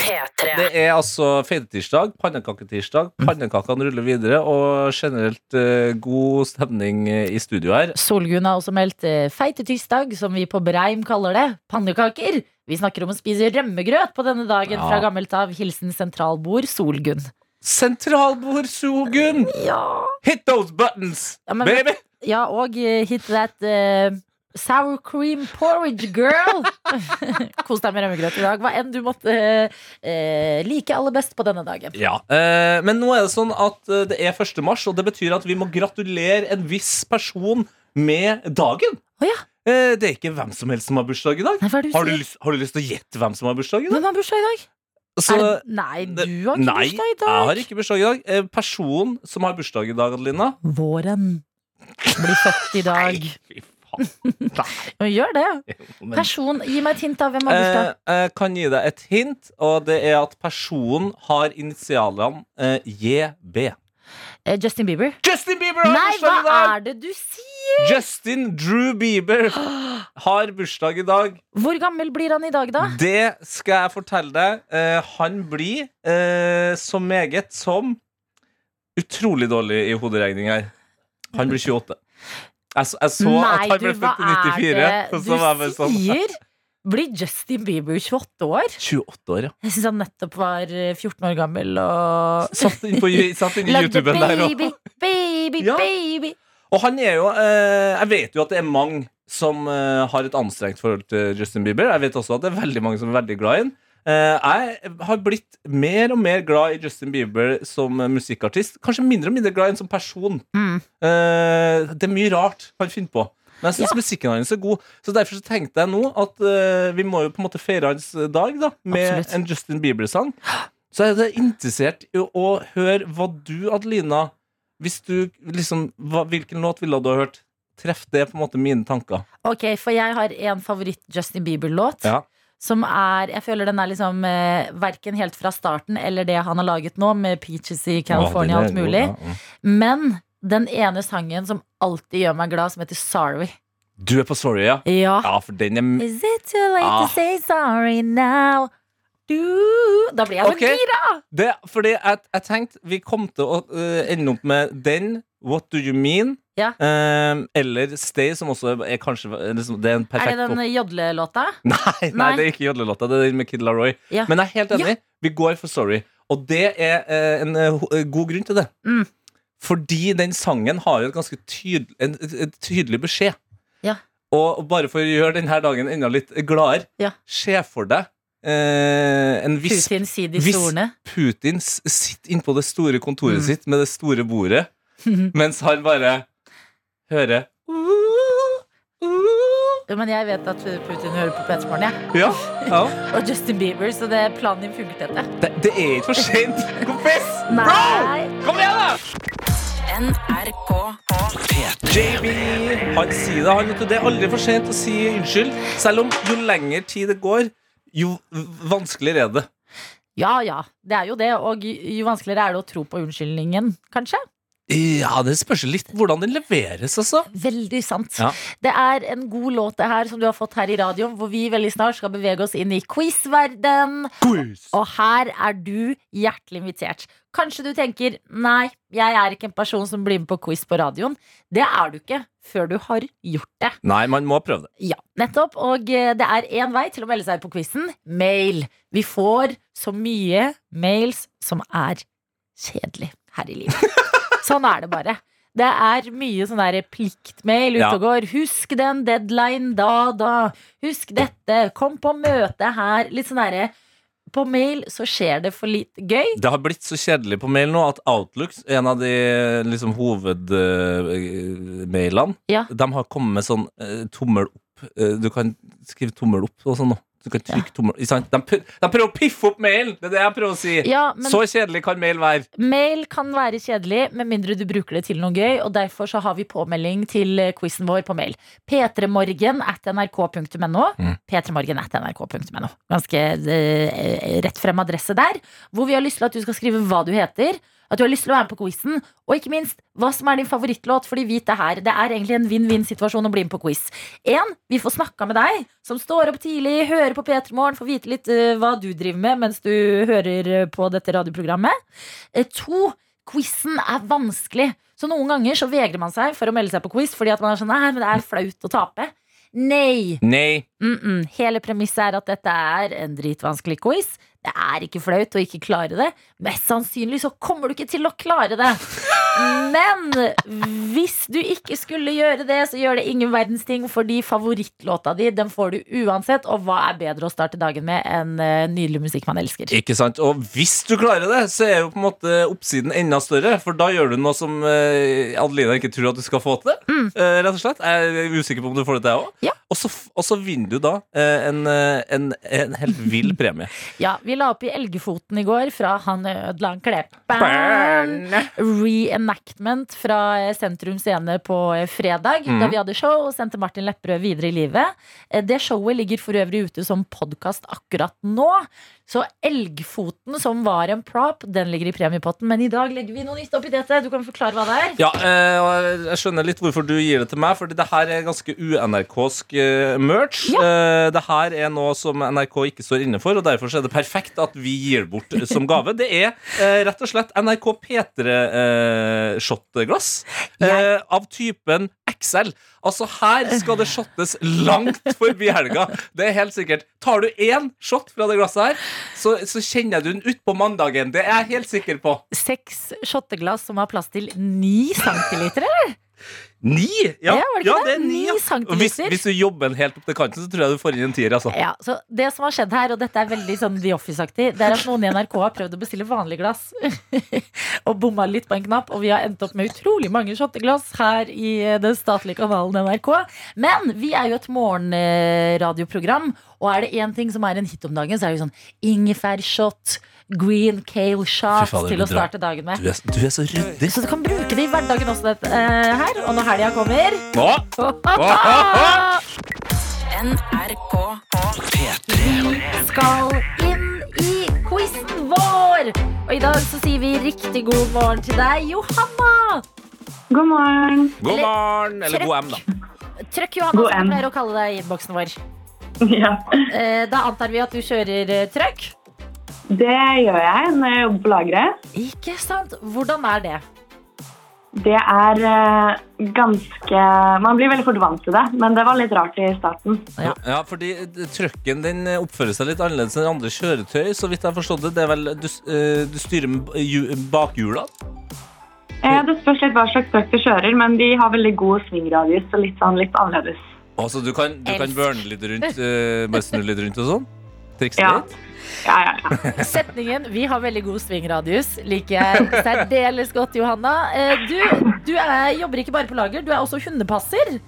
S5: P3.
S3: det er altså fetetirsdag, pannekaketirsdag.
S2: Mm.
S3: Pannekakene ruller videre, og generelt eh, god stemning eh, i studio her.
S2: Solgunn har også meldt eh, feite tirsdag, som vi på Breim kaller det. Pannekaker. Vi snakker om å spise rømmegrøt på denne dagen
S3: Ja.
S2: fra gammelt av. Hilsen sentralbord Solgunn.
S3: Sentralbord Sogun!
S2: Ja.
S3: Hit those buttons,
S2: Ja, men-
S3: baby!
S2: ja, og eh, hit that eh, sour cream porridge, girl! [LAUGHS] Kos deg med rømmegrøt i dag. Hva enn du måtte eh, eh, like aller best på denne dagen.
S3: Ja, eh, Men nå er det sånn at eh, det er 1. mars, og det betyr at vi må gratulere en viss person med dagen.
S2: Å ja.
S3: Eh, det er ikke hvem som helst som har bursdag i dag.
S2: Nei, hva er det du
S3: Har du,
S2: sier?
S3: lyst, har du lyst til å gjette hvem som har bursdag i dag?
S2: Hvem har bursdag i dag?
S3: Så-
S2: er det, nei, du har ikke
S3: Nei,
S2: bursdag i dag.
S3: jeg har ikke bursdag i dag. Eh, personen som har bursdag i dag, Adelina
S2: Våren blir født i dag.
S3: Fy faen.
S2: [LAUGHS]
S3: Nei.
S2: Men Gjør det.
S3: men-
S2: Person, gi meg et hint av hvem har bursdag.
S3: Eh, jeg kan gi deg et hint, og det er at personen har initialene eh, JB.
S2: Eh, Justin Bieber.
S3: Justin Bieber har
S2: Nei, hva
S3: bursdag i dag!
S2: er det du sier?
S3: Justin Drew Bieber har bursdag i dag.
S2: Hvor gammel blir han i dag, da?
S3: Det skal jeg fortelle deg. Eh, han blir eh, så meget som Utrolig dårlig i hoderegning her. Han blir 28. Jeg, så- jeg så at han ble født i 94.
S2: du
S3: og så var jeg bare sånn
S2: sier? Blir Justin Bieber 28 år?
S3: 28 år, ja.
S2: Jeg syns han nettopp var eh, 14 år gammel og
S3: Satt inn på satt inn i
S2: Lagde
S3: YouTuben der
S2: baby,
S3: òg.
S2: baby,
S3: Ja.
S2: baby.
S3: Og han er jo eh, Jeg vet jo at det er mange som eh, har et anstrengt forhold til Justin Bieber. Jeg vet også at det er veldig mange som er veldig glad i ham. Eh, jeg har blitt mer og mer glad i Justin Bieber som eh, musikkartist. Kanskje mindre og mindre glad i ham som person.
S2: Mm.
S3: Eh, det er mye rart han finner på. Men jeg syns musikken hans er god. Så derfor så tenkte jeg nå at eh, vi må jo på en måte feire hans dag da med
S2: Absolutt.
S3: en Justin Bieber-sang. Så er jeg interessert i å høre hva du, Adelina Hvis du liksom hva, Hvilken låt ville du ha hørt? Treff det på en måte mine tanker.
S2: Ok, for jeg har en favoritt-Justin Bieber-låt.
S3: Ja.
S2: Som er, jeg føler den er liksom eh, verken helt fra starten eller det han har laget nå, med Peaches i California og alt mulig. Men den ene sangen som alltid gjør meg glad, som heter Sorry.
S3: Du er på Sorry, ja?
S2: Ja.
S3: Ja, for den er
S2: Is it too late
S3: Ah.
S2: to say sorry now? Du. Da blir jeg så
S3: Ok.
S2: gira!
S3: det, Fordi jeg, jeg tenkte vi kom til å eh, ende opp med den, What Do You Mean,
S2: Ja.
S3: eh, eller Stay, som også er, er kanskje eh, liksom, Det er en
S2: Er
S3: perfekt
S2: det den
S3: opp- [LAUGHS]
S2: jodlelåta?
S3: Nei, nei,
S2: Nei.
S3: det er ikke jodlelåta. Det er den med Kid Laroi.
S2: Ja.
S3: Men jeg er helt enig. Vi går for Sorry. Og det er eh, en eh, ho- eh, god grunn til det.
S2: Mm.
S3: Fordi den sangen har jo et ganske tydel- en, et- et tydelig beskjed.
S2: Ja.
S3: Og bare for å gjøre denne dagen enda litt gladere,
S2: Ja.
S3: se for deg eh, en viss
S2: Putin sier de
S3: hvis-
S2: ordene.
S3: Putin s- sitter innpå det store kontoret
S2: Mm.
S3: sitt med det store bordet, mens han bare hører
S2: Du, men jeg vet at Putin hører på P3 Morgen, jeg.
S3: Ja, ja.
S2: Og Justin Bieber, så det planen din funket etter.
S3: Det, det er ikke for sent, kompis!
S2: Nei.
S3: Kom igjen, da!
S5: NRK.
S1: P3
S3: JB, han sier det, han vet du, det er aldri for sent å si unnskyld Selv om jo lenger tid det går, jo vanskeligere er det
S2: Ja ja, det er jo det. Og jo vanskeligere er det å tro på unnskyldningen, kanskje.
S3: Ja, det spørs litt hvordan den leveres altså
S2: Veldig sant.
S3: Ja.
S2: Det er en god låt det her som du har fått her i radioen, hvor vi veldig snart skal bevege oss inn i quizverden. Og her er du hjertelig invitert. Kanskje du tenker nei, jeg er ikke en person som blir med på quiz på radioen. Det er du ikke før du har gjort det.
S3: Nei, man må prøve det
S2: Ja, nettopp. Og eh, det er én vei til å melde seg på quizen. Mail. Vi får så mye mails som er kjedelig her i livet. Sånn er det bare. Det er mye sånn der pliktmail ute
S3: Ja.
S2: og går. 'Husk den deadline da, da'. 'Husk dette'. 'Kom på møte her'. Litt sånn derre På mail så skjer det for litt gøy.
S3: Det har blitt så kjedelig på mail nå at Outlook, en av de liksom, hovedmailene
S2: Ja.
S3: De har kommet med sånn eh, tommel opp eh, Du kan skrive tommel opp og sånn nå du kan trykke tommel ikke sant? De, pr- de prøver å piffe opp mailen! Det er det jeg prøver å si.
S2: Ja, men
S3: Så kjedelig kan mail være.
S2: Mail kan være kjedelig, med mindre du bruker det til noe gøy. Og derfor så har vi påmelding til eh, quizen vår på mail. p3morgen at nrk.no.
S3: Mm.
S2: p3morgen at nrk.no. Ganske eh, rett frem adresse der. Hvor vi har lyst til at du skal skrive hva du heter. At du har lyst til å være med på quizen, og ikke minst hva som er din favorittlåt. Fordi vit det her, det er egentlig en vinn-vinn-situasjon å bli med på quiz. En, vi får snakka med deg, som står opp tidlig, hører på P3 Morgen, får vite litt eh, hva du driver med mens du hører eh, på dette radioprogrammet. Eh, to, quizen er vanskelig. Så noen ganger så vegrer man seg for å melde seg på quiz fordi at man er sånn nei, men det er flaut å tape. Nei.
S3: Nei.
S2: Mm-mm. Hele premisset er at dette er en dritvanskelig quiz. Det er ikke flaut å ikke klare det. Mest sannsynlig så kommer du ikke til å klare det. Men hvis du ikke skulle gjøre det, så gjør det ingen verdens ting, fordi favorittlåta di den får du uansett. Og hva er bedre å starte dagen med enn eh, nydelig musikk man elsker?
S3: Ikke sant? Og hvis du klarer det, så er jo på en måte oppsiden enda større. For da gjør du noe som eh, Adelina ikke tror at du skal få til. Eh, rett og slett. Jeg er usikker på om du får det til, jeg òg.
S2: Ja.
S3: Og, så f- og så vinner du da eh, en, eh, en, en helt vill premie.
S2: Ja, vi la opp i Elgefoten i går fra Han ødela en klepperen. reenactment fra eh, Sentrum Scene på eh, fredag, da vi hadde show og sendte Martin Lepperød videre i livet. Eh, Det showet ligger for øvrig ute som podkast akkurat nå. Så Elgfoten, som var en prop, den ligger i premiepotten. Men i dag legger vi noe nytt oppi dette. Du kan forklare hva det er.
S3: Ja, eh, og jeg- jeg skjønner litt hvorfor du gir det til meg, fordi det her er ganske u-NRK-sk eh, merch. Eh, det her er noe som NRK ikke står inne for, og derfor så er det perfekt at vi gir bort som gave. Det er eh, rett og slett NRK P3-shotglass eh, av typen XL. Altså, her skal det shottes langt forbi helga. Det er helt sikkert. Tar du én shot fra det glasset her, så, så kjenner du den utpå mandagen. Det er jeg helt sikker på.
S2: Seks shotteglass som har plass til ni centiliter. eller?
S3: Ni?
S2: Ja, var det ikke det? Ni
S3: ja.
S2: centimeter.
S3: Og Hvis, hvis du jobber den helt opp til kanten, så tror jeg du får inn en tier. Altså.
S2: Ja, så Det som har skjedd her, og dette er veldig sånn The Office-aktig, det er at noen i NRK har prøvd å bestille vanlige glass [LAUGHS] og bomma litt på en knapp, og vi har endt opp med utrolig mange shotteglass her i eh, den statlige kanalen NRK. Men vi er jo et morgenradioprogram, og er det én ting som er en hit om dagen, så er det jo sånn ingefærshot, green cale shot
S3: Fy fader,
S2: til å
S3: du drar-
S2: starte dagen med.
S3: Du er, du er så ryddig.
S2: Så du kan bruke det i hverdagen også, dette eh, her. Og når helga kommer
S3: Å!
S5: NRK.
S1: P3
S2: skal inn i quizen vår. Og i dag så sier vi riktig god morgen til deg, Johanna.
S6: God morgen.
S3: God
S2: Eller-
S3: morgen, eller god M, da.
S2: Trøkk Johanna,
S6: God
S2: som vi
S6: M.
S2: pleier å kalle deg i innboksen vår.
S6: Ja,
S2: Eh, Da antar vi at du kjører eh, trøkk.
S6: det gjør jeg når jeg jobber på lageret.
S2: Ikke sant? Hvordan er det?
S6: Det er eh, ganske Man blir veldig fort vant til det, men det var litt rart i starten.
S2: Ja.
S3: Ja, fordi eh, trucken din eh, oppfører seg litt annerledes enn andre kjøretøy. Så vidt jeg har forstått det, det er vel Du, s- eh, du styrer med b- ju- bakhjula?
S6: Eh, Det spørs litt hva slags truck du kjører, men de har veldig god svingradius og litt sånn litt annerledes.
S3: Altså, du kan, du kan
S2: Elsk.
S3: burne litt rundt, eh, bare snu litt rundt og sånn? Trikse
S6: Ja.
S3: litt?
S6: Ja, ja, ja.
S2: Setningen 'Vi har veldig god svingradius' liker jeg særdeles godt, Johanna. Eh, Du, du er, jobber ikke bare på lager, du er også hundepasser.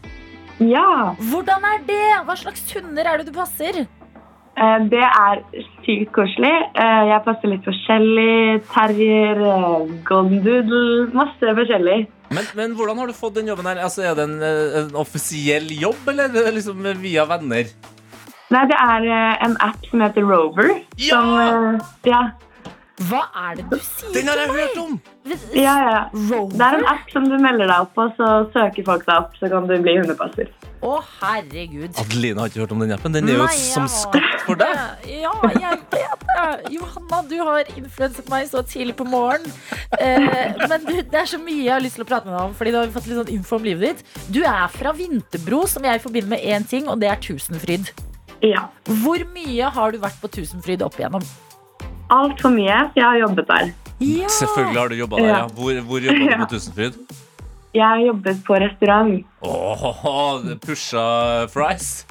S6: Ja,
S2: Hvordan er det? Hva slags hunder er det du passer?
S6: eh, det er sykt koselig. Eh, Jeg passer litt forskjellig. Terrier, eh, golden doodle, masse forskjellig.
S3: Men, men hvordan har du fått den jobben her? Altså, er det en, eh, en offisiell jobb, eller er det liksom via venner?
S6: Nei, det er eh, en app som heter Rover.
S3: Ja!
S6: Som, eh, ja,
S2: Hva er det du sier?
S3: Den har jeg hørt om!
S6: ja, ja.
S2: Rover?
S6: Det er en app som du melder deg opp på, så søker folk deg opp, så kan du bli hundepasser.
S2: Å, herregud.
S3: Adeline har ikke hørt om den appen. Den er jo
S2: Nei, jeg
S3: som
S2: har
S3: skapt for deg.
S2: Ja, jeg vet det. Johanna, du har influenset meg så tidlig på morgen. Eh, men du, det er så mye jeg har lyst til å prate med deg om, Fordi da har vi fått litt sånn info om livet ditt. Du er fra Vinterbro, som jeg forbinder med én ting, og det er Tusenfryd.
S6: Ja.
S2: Hvor mye har du vært på Tusenfryd opp igjennom?
S6: Altfor mye, for jeg har jobbet der.
S2: Ja!
S3: Selvfølgelig har du jobba der. Ja.
S6: Ja.
S3: Hvor, hvor jobba du
S6: Ja.
S3: på Tusenfryd?
S6: Jeg har jobbet på restaurant.
S3: Åh, pusha fries.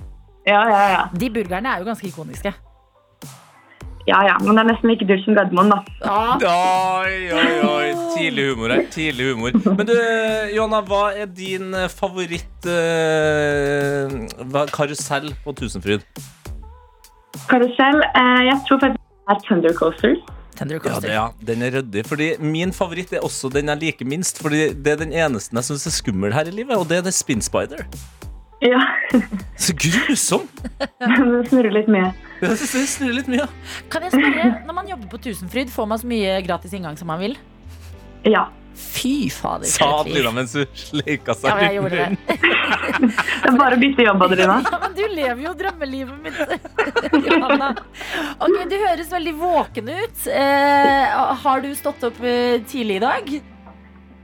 S6: Ja, ja, ja.
S2: De burgerne er jo ganske ikoniske.
S6: ja, ja. Men det er nesten like dyrt som Gardermoen, da.
S2: Ja,
S3: Oi, oi, oi. Tidlig humor her. Tidlig humor. Men du, Johanna, hva er din eh, favoritt eh, hva- karusell på Tusenfryd?
S6: Karusell. Eh, jeg tror faktisk det er Thunder Coaster.
S2: Tender
S3: Ja, det,
S2: Coaster.
S3: ja, den er ryddig. Fordi min favoritt er også den jeg liker minst. Fordi det er den eneste jeg syns er skummel her i livet, og det er The Spin Spider.
S6: Ja, [LAUGHS]
S3: Så grusom! [LAUGHS]
S6: Den snurrer litt mye.
S3: Jeg synes det snurrer litt mye.
S2: Kan jeg spørre, Når man jobber på Tusenfryd, får man så mye gratis inngang som man vil?
S6: Ja.
S2: Fy fader.
S3: Sa
S2: for et liv.
S3: Adelina mens hun sleika
S2: Ja,
S3: seg
S2: men jeg gjorde det.
S6: Det er bare å bytte jobb, Adelina.
S2: Ja, men du lever jo drømmelivet mitt, [LAUGHS] Johanna. Ok, Du høres veldig våken ut. Eh, har du stått opp eh, tidlig i dag?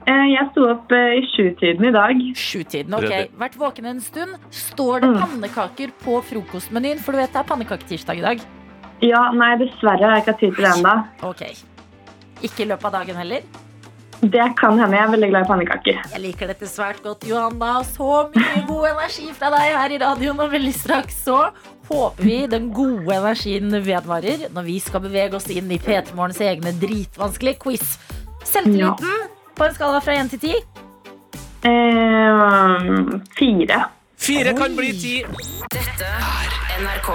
S6: Eh, jeg sto opp eh, i sjutiden i dag.
S2: Sjutiden. ok.
S3: Ryddig.
S2: Vært våken en stund. Står det pannekaker på frokostmenyen? For du vet det er pannekaketirsdag i dag.
S6: Ja, nei, dessverre har jeg ikke hatt tid til det ennå.
S2: Ok. Ikke i løpet av dagen heller?
S6: Det kan hende. Jeg er veldig glad i pannekaker.
S2: Jeg liker dette svært godt, Johanna. Så mye god energi fra deg her i radioen. Og veldig straks så håper vi den gode energien vedvarer når vi skal bevege oss inn i P3 Morgens egne dritvanskelige quiz. Selvtilliten på en skala fra 1 til 10.
S6: Eh, fire.
S3: Fire kan bli ti.
S5: Dette er NRK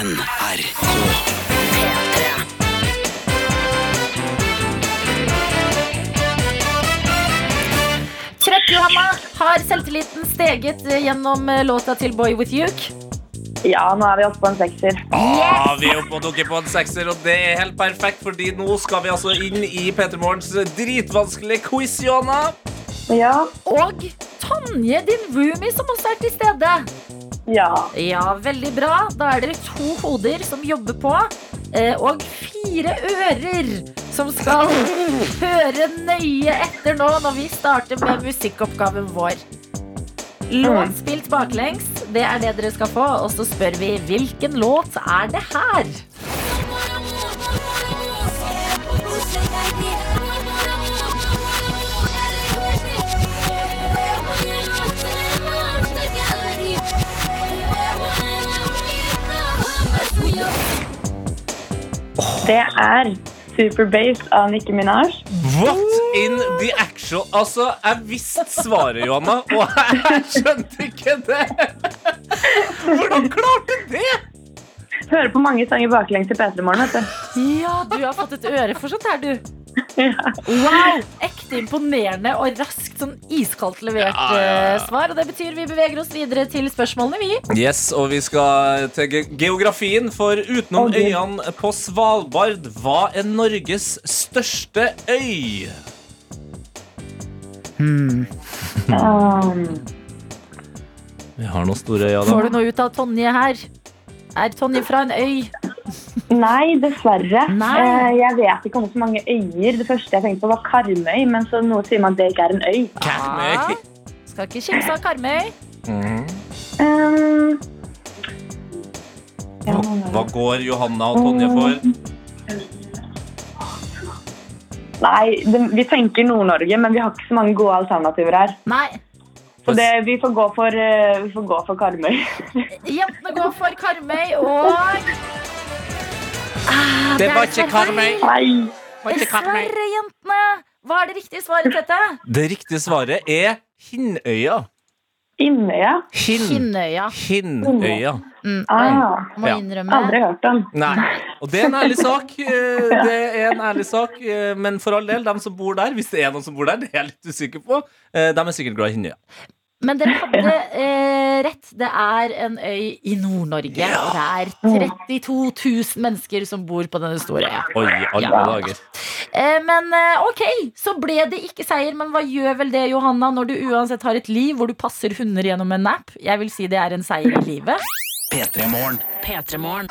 S1: NRK.
S5: P3.
S2: Trøkk, Johanna. Har selvtilliten steget eh, gjennom eh, låta til Boy With Yuke?
S6: Ja, nå er vi oppe på en sekser.
S3: Ah, vi er oppe og dukker på en sekser, og det er helt perfekt, fordi nå skal vi altså inn i Peter Morgens dritvanskelige quiz, Johanna.
S6: Ja.
S2: Og Tonje, din roomie, som også er til stede.
S6: Ja.
S2: Ja, veldig bra. Da er dere to hoder som jobber på, eh, og fire ører som
S3: [LAUGHS]
S2: skal høre nøye etter nå når vi starter med musikkoppgaven vår. Låt spilt baklengs, det er det dere skal få. Og så spør vi hvilken låt er det her?
S6: Det er Superbase av Nicki Minaj.
S3: What in the actual Altså, jeg visste svaret, Johanna, og jeg skjønte ikke det. Hvordan klarte du det?
S6: Hører på mange sanger baklengs i P3 Morgen, vet du.
S2: Ja, du har fått et øre for sånt her, du.
S6: Ja.
S2: Wow! Ekte imponerende og raskt sånn iskaldt levert
S3: Ja, ja, ja.
S2: eh, svar. Og det betyr vi beveger oss videre til spørsmålene, vi.
S3: Yes, og vi skal til ge geografien, for utenom
S6: Ok.
S3: øyene på Svalbard, hva er Norges største øy?
S6: Um,
S3: Vi har noen store øyer,
S2: Får du noe ut av Tonje her? Er Tonje fra en øy?
S6: nei, dessverre.
S2: Nei.
S6: Eh, jeg vet ikke om så mange øyer. Det første jeg tenkte på, var Karmøy, men så noe sier man at det ikke er en øy.
S3: Karmøy.
S2: Ja. Ah. Skal ikke kimse av Karmøy.
S3: Mhm.
S6: Um, ja,
S3: Hva går Johanna og Tonje for?
S6: nei, det, vi tenker Nord-Norge, men vi har ikke så mange gode alternativer her.
S2: Nei,
S6: Så det, vi, får gå for, eh, vi får gå for Karmøy.
S2: jentene går for Karmøy og Ah,
S3: Det var ikke Karmøy.
S6: Nei.
S2: Dessverre, jentene! Hva er det riktige svaret, Tete?
S3: Det riktige svaret er Hinnøya.
S6: Innøya?
S3: Hinn.
S2: Kinnøya.
S3: Hinnøya.
S2: Mm,
S6: Ah,
S2: må
S3: Ja.
S2: innrømme.
S6: aldri hørt om.
S3: Nei. Og det er en ærlig sak. eh, Det er en ærlig sak eh, Men for all del, dem som bor der, hvis det er noen som bor der, det er jeg litt usikker på, eh, dem er sikkert glad i Hinnøya.
S2: Men dere hadde eh, rett. Det er en øy i Nord-Norge. Og
S6: Oh.
S2: det er 32 000 mennesker som bor på denne store øya.
S3: Oi, alle
S2: Ja.
S3: dager.
S2: Eh, men eh, ok, så ble det ikke seier. Men hva gjør vel det, Johanna, når du uansett har et liv hvor du passer hunder gjennom en nap? Jeg vil si det er en seier i livet.
S1: P3-morgen.
S5: P3-morgen.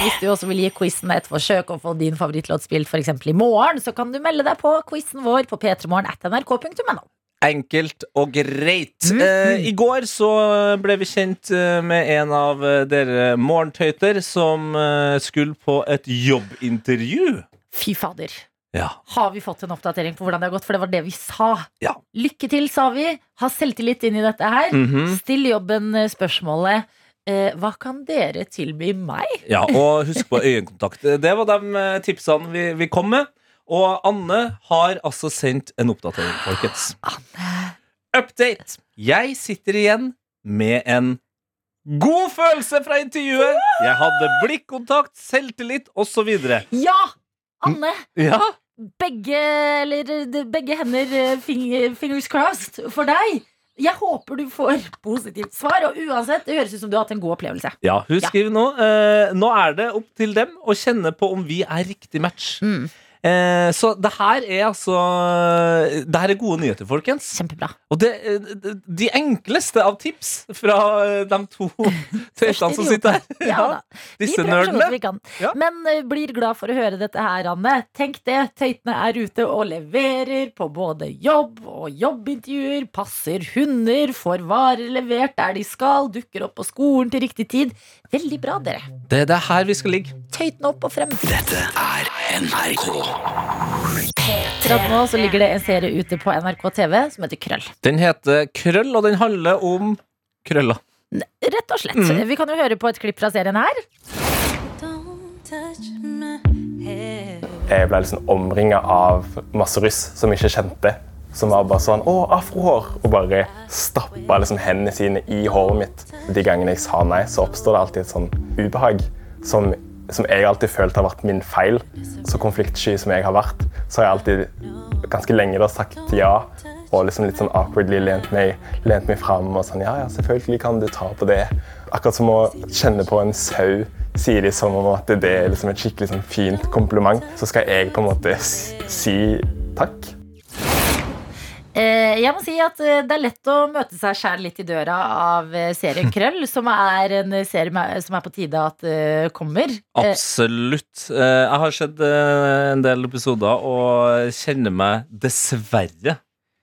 S2: Hvis du også vil gi quizen et forsøk og få din favorittlåt spilt f.eks. i morgen, så kan du melde deg på quizen vår på p3morgen.nrk.no.
S3: Enkelt og greit.
S2: Mm.
S3: eh, I går så ble vi kjent eh, med en av eh, dere morgentøyter som eh, skulle på et jobbintervju.
S2: Fy fader.
S3: Ja.
S2: Har vi fått en oppdatering på hvordan det har gått? For det var det vi sa.
S3: Ja.
S2: Lykke til, sa vi. Ha selvtillit inn i dette her.
S3: Mhm.
S2: Still jobben eh, spørsmålet. Eh, hva kan dere tilby meg?
S3: ja, og husk på øyekontakt. Det var de eh, tipsene vi, vi kom med. Og Anne har altså sendt en oppdatering, folkens. Update! Jeg sitter igjen med en god følelse fra intervjuet. Jeg hadde blikkontakt, selvtillit osv.
S2: Ja! Anne!
S3: Ja.
S2: Begge, eller, de- begge hender eh, fing- fingers crossed for deg. Jeg håper du får positivt svar. Og uansett, det høres ut som du har hatt en god opplevelse.
S3: Ja, hun
S2: Ja.
S3: skriver nå eh, Nå er det opp til dem å kjenne på om vi er riktig match.
S2: Mm.
S3: Eh, så det her er altså eh, Det her er gode nyheter, folkens.
S2: Kjempebra.
S3: Og det, eh, de- de enkleste av tips fra eh, de to tøytene som sitter her.
S2: Ja da. Vi
S3: Disse
S2: prøver så godt vi
S3: nerdene.
S2: kan.
S3: Ja.
S2: Men eh, blir glad for å høre dette her, Anne. Tenk det, tøytene er ute og leverer på både jobb og jobbintervjuer, passer hunder, får varer levert der de skal, dukker opp på skolen til riktig tid. Veldig bra, dere.
S3: Det er det her vi skal ligge.
S2: Tøytene opp og frem.
S1: Dette er NRK.
S2: Akkurat nå så ligger det en serie ute på NRK TV som heter Krøll.
S3: Den heter Krøll, og den handler om krøller.
S2: Rett og slett. Vi kan jo høre på et klipp fra serien her.
S7: Jeg ble liksom omringa av masse russ som jeg ikke kjente. Som var bare sånn 'Å, afrohår!' Og bare stappa liksom hendene sine i håret mitt. De gangene jeg sa nei, så oppstår det alltid et sånn ubehag som, som jeg alltid følte har vært min feil. Så konfliktsky som jeg har vært, så har jeg alltid ganske lenge da sagt ja. Og liksom litt sånn awkwardly lent meg, lent meg fram og sånn 'Ja, ja, selvfølgelig kan du ta på det.' Akkurat som å kjenne på en sau sier de som om at det er liksom et skikkelig sånn fint kompliment, så skal jeg på en måte s- si takk.
S2: Eh, Jeg må si at eh, det er lett å møte seg sjæl litt i døra av eh, serien Krøll, som er en eh, serie med- som er på tide at eh, kommer. Eh,
S3: Absolutt. Eh, Jeg har sett eh, en del episoder og kjenner meg dessverre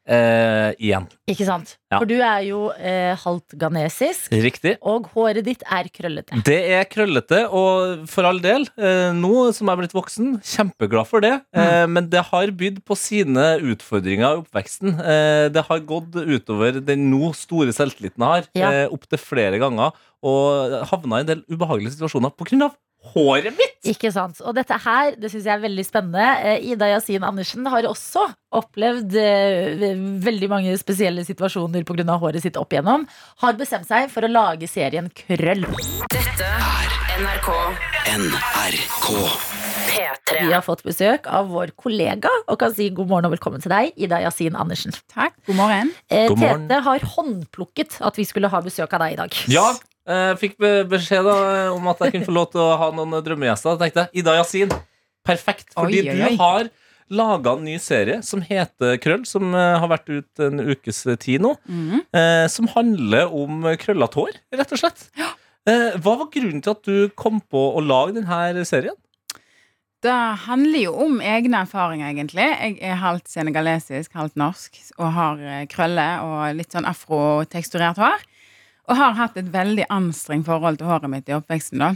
S3: eh, igjen.
S2: Ikke sant?
S3: Ja.
S2: For du er jo eh, halvt ghanesisk,
S3: Riktig.
S2: og håret ditt er krøllete.
S3: Det er krøllete, og for all del, eh, nå som jeg er blitt voksen, kjempeglad for det. Eh, Men det har bydd på sine utfordringer i oppveksten. Eh, Det har gått utover den nå store selvtilliten jeg
S2: Ja.
S3: har, eh, opptil flere ganger, og havna i en del ubehagelige situasjoner pga. håret mitt!
S2: Ikke sant? Og dette her det syns jeg er veldig spennende. Eh, Ida Yasin Andersen har også opplevd eh, ve- veldig mange spesielle situasjoner pga. håret sitt opp igjennom. Har bestemt seg for å lage serien Krøll.
S5: Dette er NRK
S1: NRK.
S2: Vi
S5: P3.
S2: har fått besøk av vår kollega og kan si god morgen og velkommen til deg, Ida Yasin Andersen.
S8: Takk, god morgen.
S2: Eh,
S3: God morgen.
S2: Tete har håndplukket at vi skulle ha besøk av deg i dag.
S3: Ja, jeg eh, fikk be- beskjed da, eh, om at jeg kunne få lov til å ha noen drømmegjester. Da tenkte jeg Ida Yasin, perfekt. Fordi
S8: Oi, oi, oi.
S3: du har laga en ny serie som heter Krøll, som eh, har vært ut en ukes tid nå.
S8: Mhm.
S3: eh, som handler om krøllete hår, rett og slett. Eh, hva var grunnen til at du kom på å lage denne serien?
S8: Det handler jo om egne erfaringer, egentlig. Jeg er halvt senegalesisk, halvt norsk, og har eh, krøller og litt sånn afroteksturert hår. Og har hatt et veldig anstrengt forhold til håret mitt i oppveksten, da.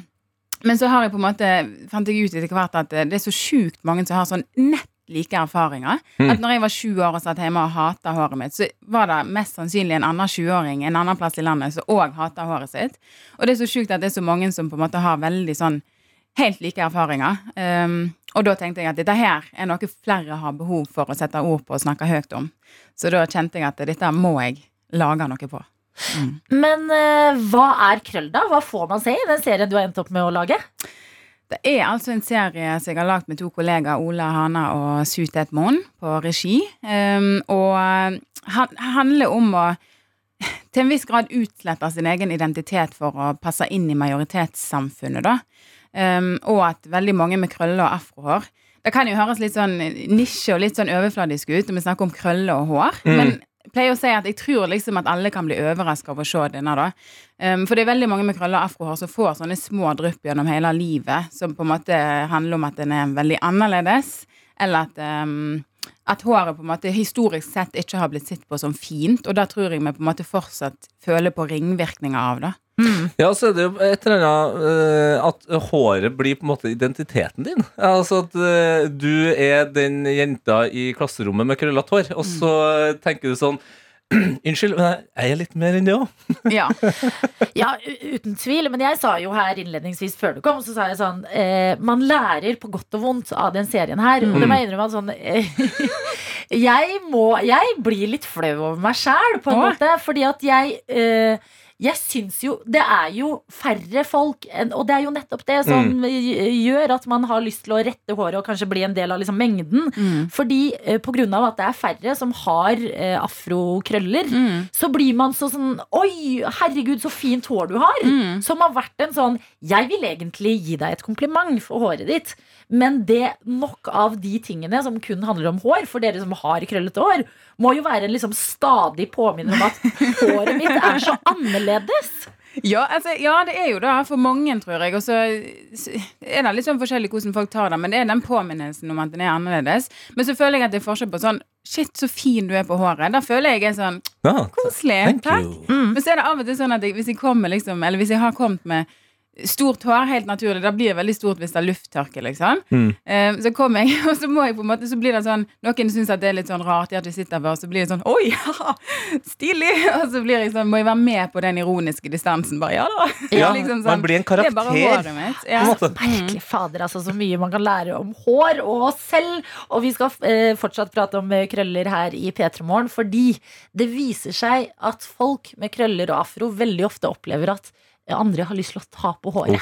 S8: Men så har jeg på en måte, fant jeg ut etter hvert at eh, det er så sjukt mange som har sånn nett like erfaringer. At når jeg var sju år og satt hjemme og hata håret mitt, så var det mest sannsynlig en annen sjuåring en annen plass i landet som òg hata håret sitt. Og det er så sjukt at det er så mange som på en måte har veldig sånn helt like erfaringer. Um, og da tenkte jeg at dette her er noe flere har behov for å sette ord på og snakke høyt om. Så da kjente jeg at dette må jeg lager noe på.
S2: Men eh, hva er krøll, da? Hva får man se i den serien du har endt opp med å lage?
S8: Det er altså en serie som jeg har lagd med to kollegaer, Ola Hana og Sutet Moen, på regi. Um, og han handler om å [LAUGHS] til en viss grad utslette sin egen identitet for å passe inn i majoritetssamfunnet, da. Um, og at veldig mange med krøller og afrohår Det kan jo høres litt sånn nisje og litt sånn overfladisk ut når vi snakker om krøller og hår, men jeg pleier å si at jeg tror liksom at alle kan bli overraska over å se denne, da. Um, for det er veldig mange med krøller og afrohår som får sånne små drypp gjennom hele livet, som på en måte handler om at en er veldig annerledes, eller at um, at håret på en måte historisk sett ikke har blitt sett på som fint, og da tror jeg vi på en måte fortsatt føler på ringvirkninger av det.
S3: Ja, så er det jo et eller annet eh, at håret blir på en måte identiteten din. Altså at eh, du er den jenta i klasserommet med krøllete hår, og så tenker du sånn [CLEARS THROAT] Unnskyld, men jeg- jeg er litt mer enn det òg.
S8: Ja.
S2: Ja, u- uten tvil, men jeg sa jo her innledningsvis før du kom, så sa jeg sånn eh, Man lærer på godt og vondt av den serien her. Og det må jeg innrømme at sånn eh, jeg, må, jeg blir litt flau over meg sjæl, på en
S8: Åh.
S2: måte, fordi at jeg eh, jeg syns jo Det er jo færre folk, enn, og det er jo nettopp det som gjør at man har lyst til å rette håret og kanskje bli en del av liksom mengden. Fordi eh, på grunn av at det er færre som har eh, afrokrøller, så blir man så sånn Oi, herregud, så fint hår du har! Som har vært en sånn Jeg vil egentlig gi deg et kompliment for håret ditt, men det nok av de tingene som kun handler om hår, for dere som har krøllete hår, må jo være en liksom stadig påminner om at håret mitt er så annerledes.
S8: Ja, altså, ja, det er jo det for mange, tror jeg. Og så er det litt sånn forskjellig hvordan folk tar det, men det er den påminnelsen om at den er annerledes. Men så føler jeg at det er forskjell på sånn Shit, så fin du er på håret. Da føler jeg jeg er sånn
S3: Ja,
S8: Koselig. Takk.
S3: Mm.
S8: Men så er det av og til sånn at jeg, hvis jeg kommer liksom Eller hvis jeg har kommet med Stort hår, helt naturlig. Det blir veldig stort hvis det er lufttørke. liksom
S3: Mm.
S8: Eh, Så kommer jeg, [LAUGHS] og så må jeg på en måte Så blir det sånn Noen syns at det er litt sånn rart, ja, at jeg sitter her, og så blir det sånn Oi, [LAUGHS] ja, stilig! Og så blir jeg sånn, må jeg være med på den ironiske distansen. Bare ja da.
S3: Ja,
S8: [LAUGHS] Liksom
S3: man blir en
S8: Det er bare
S3: karakter,
S8: håret mitt. Ja.
S3: på en måte.
S2: Merkelig fader, altså. Så mye man kan lære om hår og oss selv. Og vi skal eh, fortsatt prate om eh, krøller her i P3 Morgen, fordi det viser seg at folk med krøller og afro veldig ofte opplever at eh, andre har lyst til å ta på håret.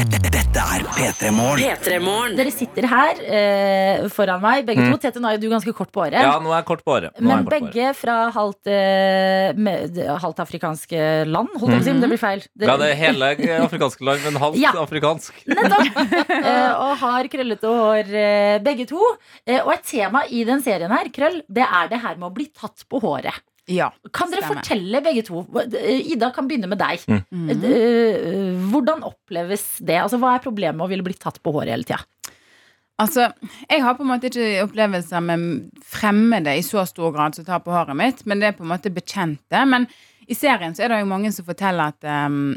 S1: Dette er P3 Morgen.
S5: P3morgen.
S2: Dere sitter her eh, foran meg, begge to. Tete, nå er jo du ganske kort på håret.
S3: Ja, nå er jeg kort på håret. Nå er
S2: Men
S3: jeg kort på håret.
S2: begge fra halvt, eh, med, halvt afrikanske land, holdt jeg på å si. Men det blir feil. Dere-
S3: Ja, det er hele afrikanske land, men halvt
S2: Ja.
S3: afrikansk.
S2: Nettopp! [LAUGHS] Eh, og har krøllete hår, eh, begge to. Eh, og et tema i den serien her, krøll, det er det her med å bli tatt på håret.
S8: ja.
S2: Kan dere
S8: Stemmer.
S2: fortelle, begge to hva- eh, Ida kan begynne med deg.
S3: Mm.
S2: Eh, eh, hvordan oppleves det? Altså, Hva er problemet med å ville bli tatt på håret hele tida?
S8: Altså, Jeg har på en måte ikke opplevelser med fremmede i så stor grad som tar på håret mitt, men det er på en måte bekjente. Men i serien så er det jo mange som forteller at ehm,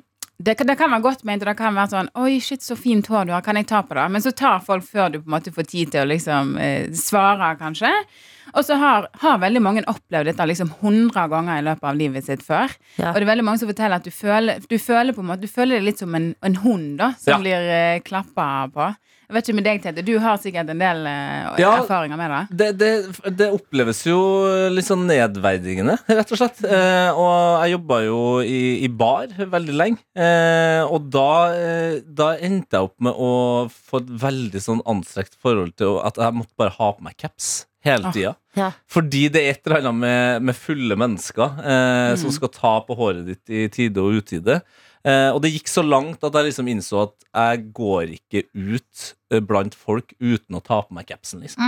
S8: det, kan- det kan være godt ment, og det kan være sånn Oi, shit, så fint hår du har, kan jeg ta på det? Men så tar folk før du på en måte får tid til å liksom eh, svare, kanskje. Og så har, har veldig mange opplevd dette liksom 100 ganger i løpet av livet sitt før.
S2: Ja.
S8: Og det er veldig mange som forteller at du føler, du føler på en måte Du føler det litt som en, en hund da som
S3: Ja.
S8: blir eh, klappa på. Jeg vet ikke med deg, Tete. Du har sikkert en del eh,
S3: Ja.
S8: erfaringer med det.
S3: det, det, det oppleves jo litt sånn nedverdigende, rett og slett. Eh, og jeg jobba jo i, i bar veldig lenge. Eh, og da, eh, da endte jeg opp med å få et veldig sånn anstrekt forhold til at jeg måtte bare ha på meg caps hele
S8: Ah,
S3: tida.
S2: ja.
S3: Fordi det er et eller annet med, med fulle mennesker eh, som skal ta på håret ditt i tide og utide. Eh, og det gikk så langt at jeg liksom innså at jeg går ikke ut eh, blant folk uten å ta på meg capsen. liksom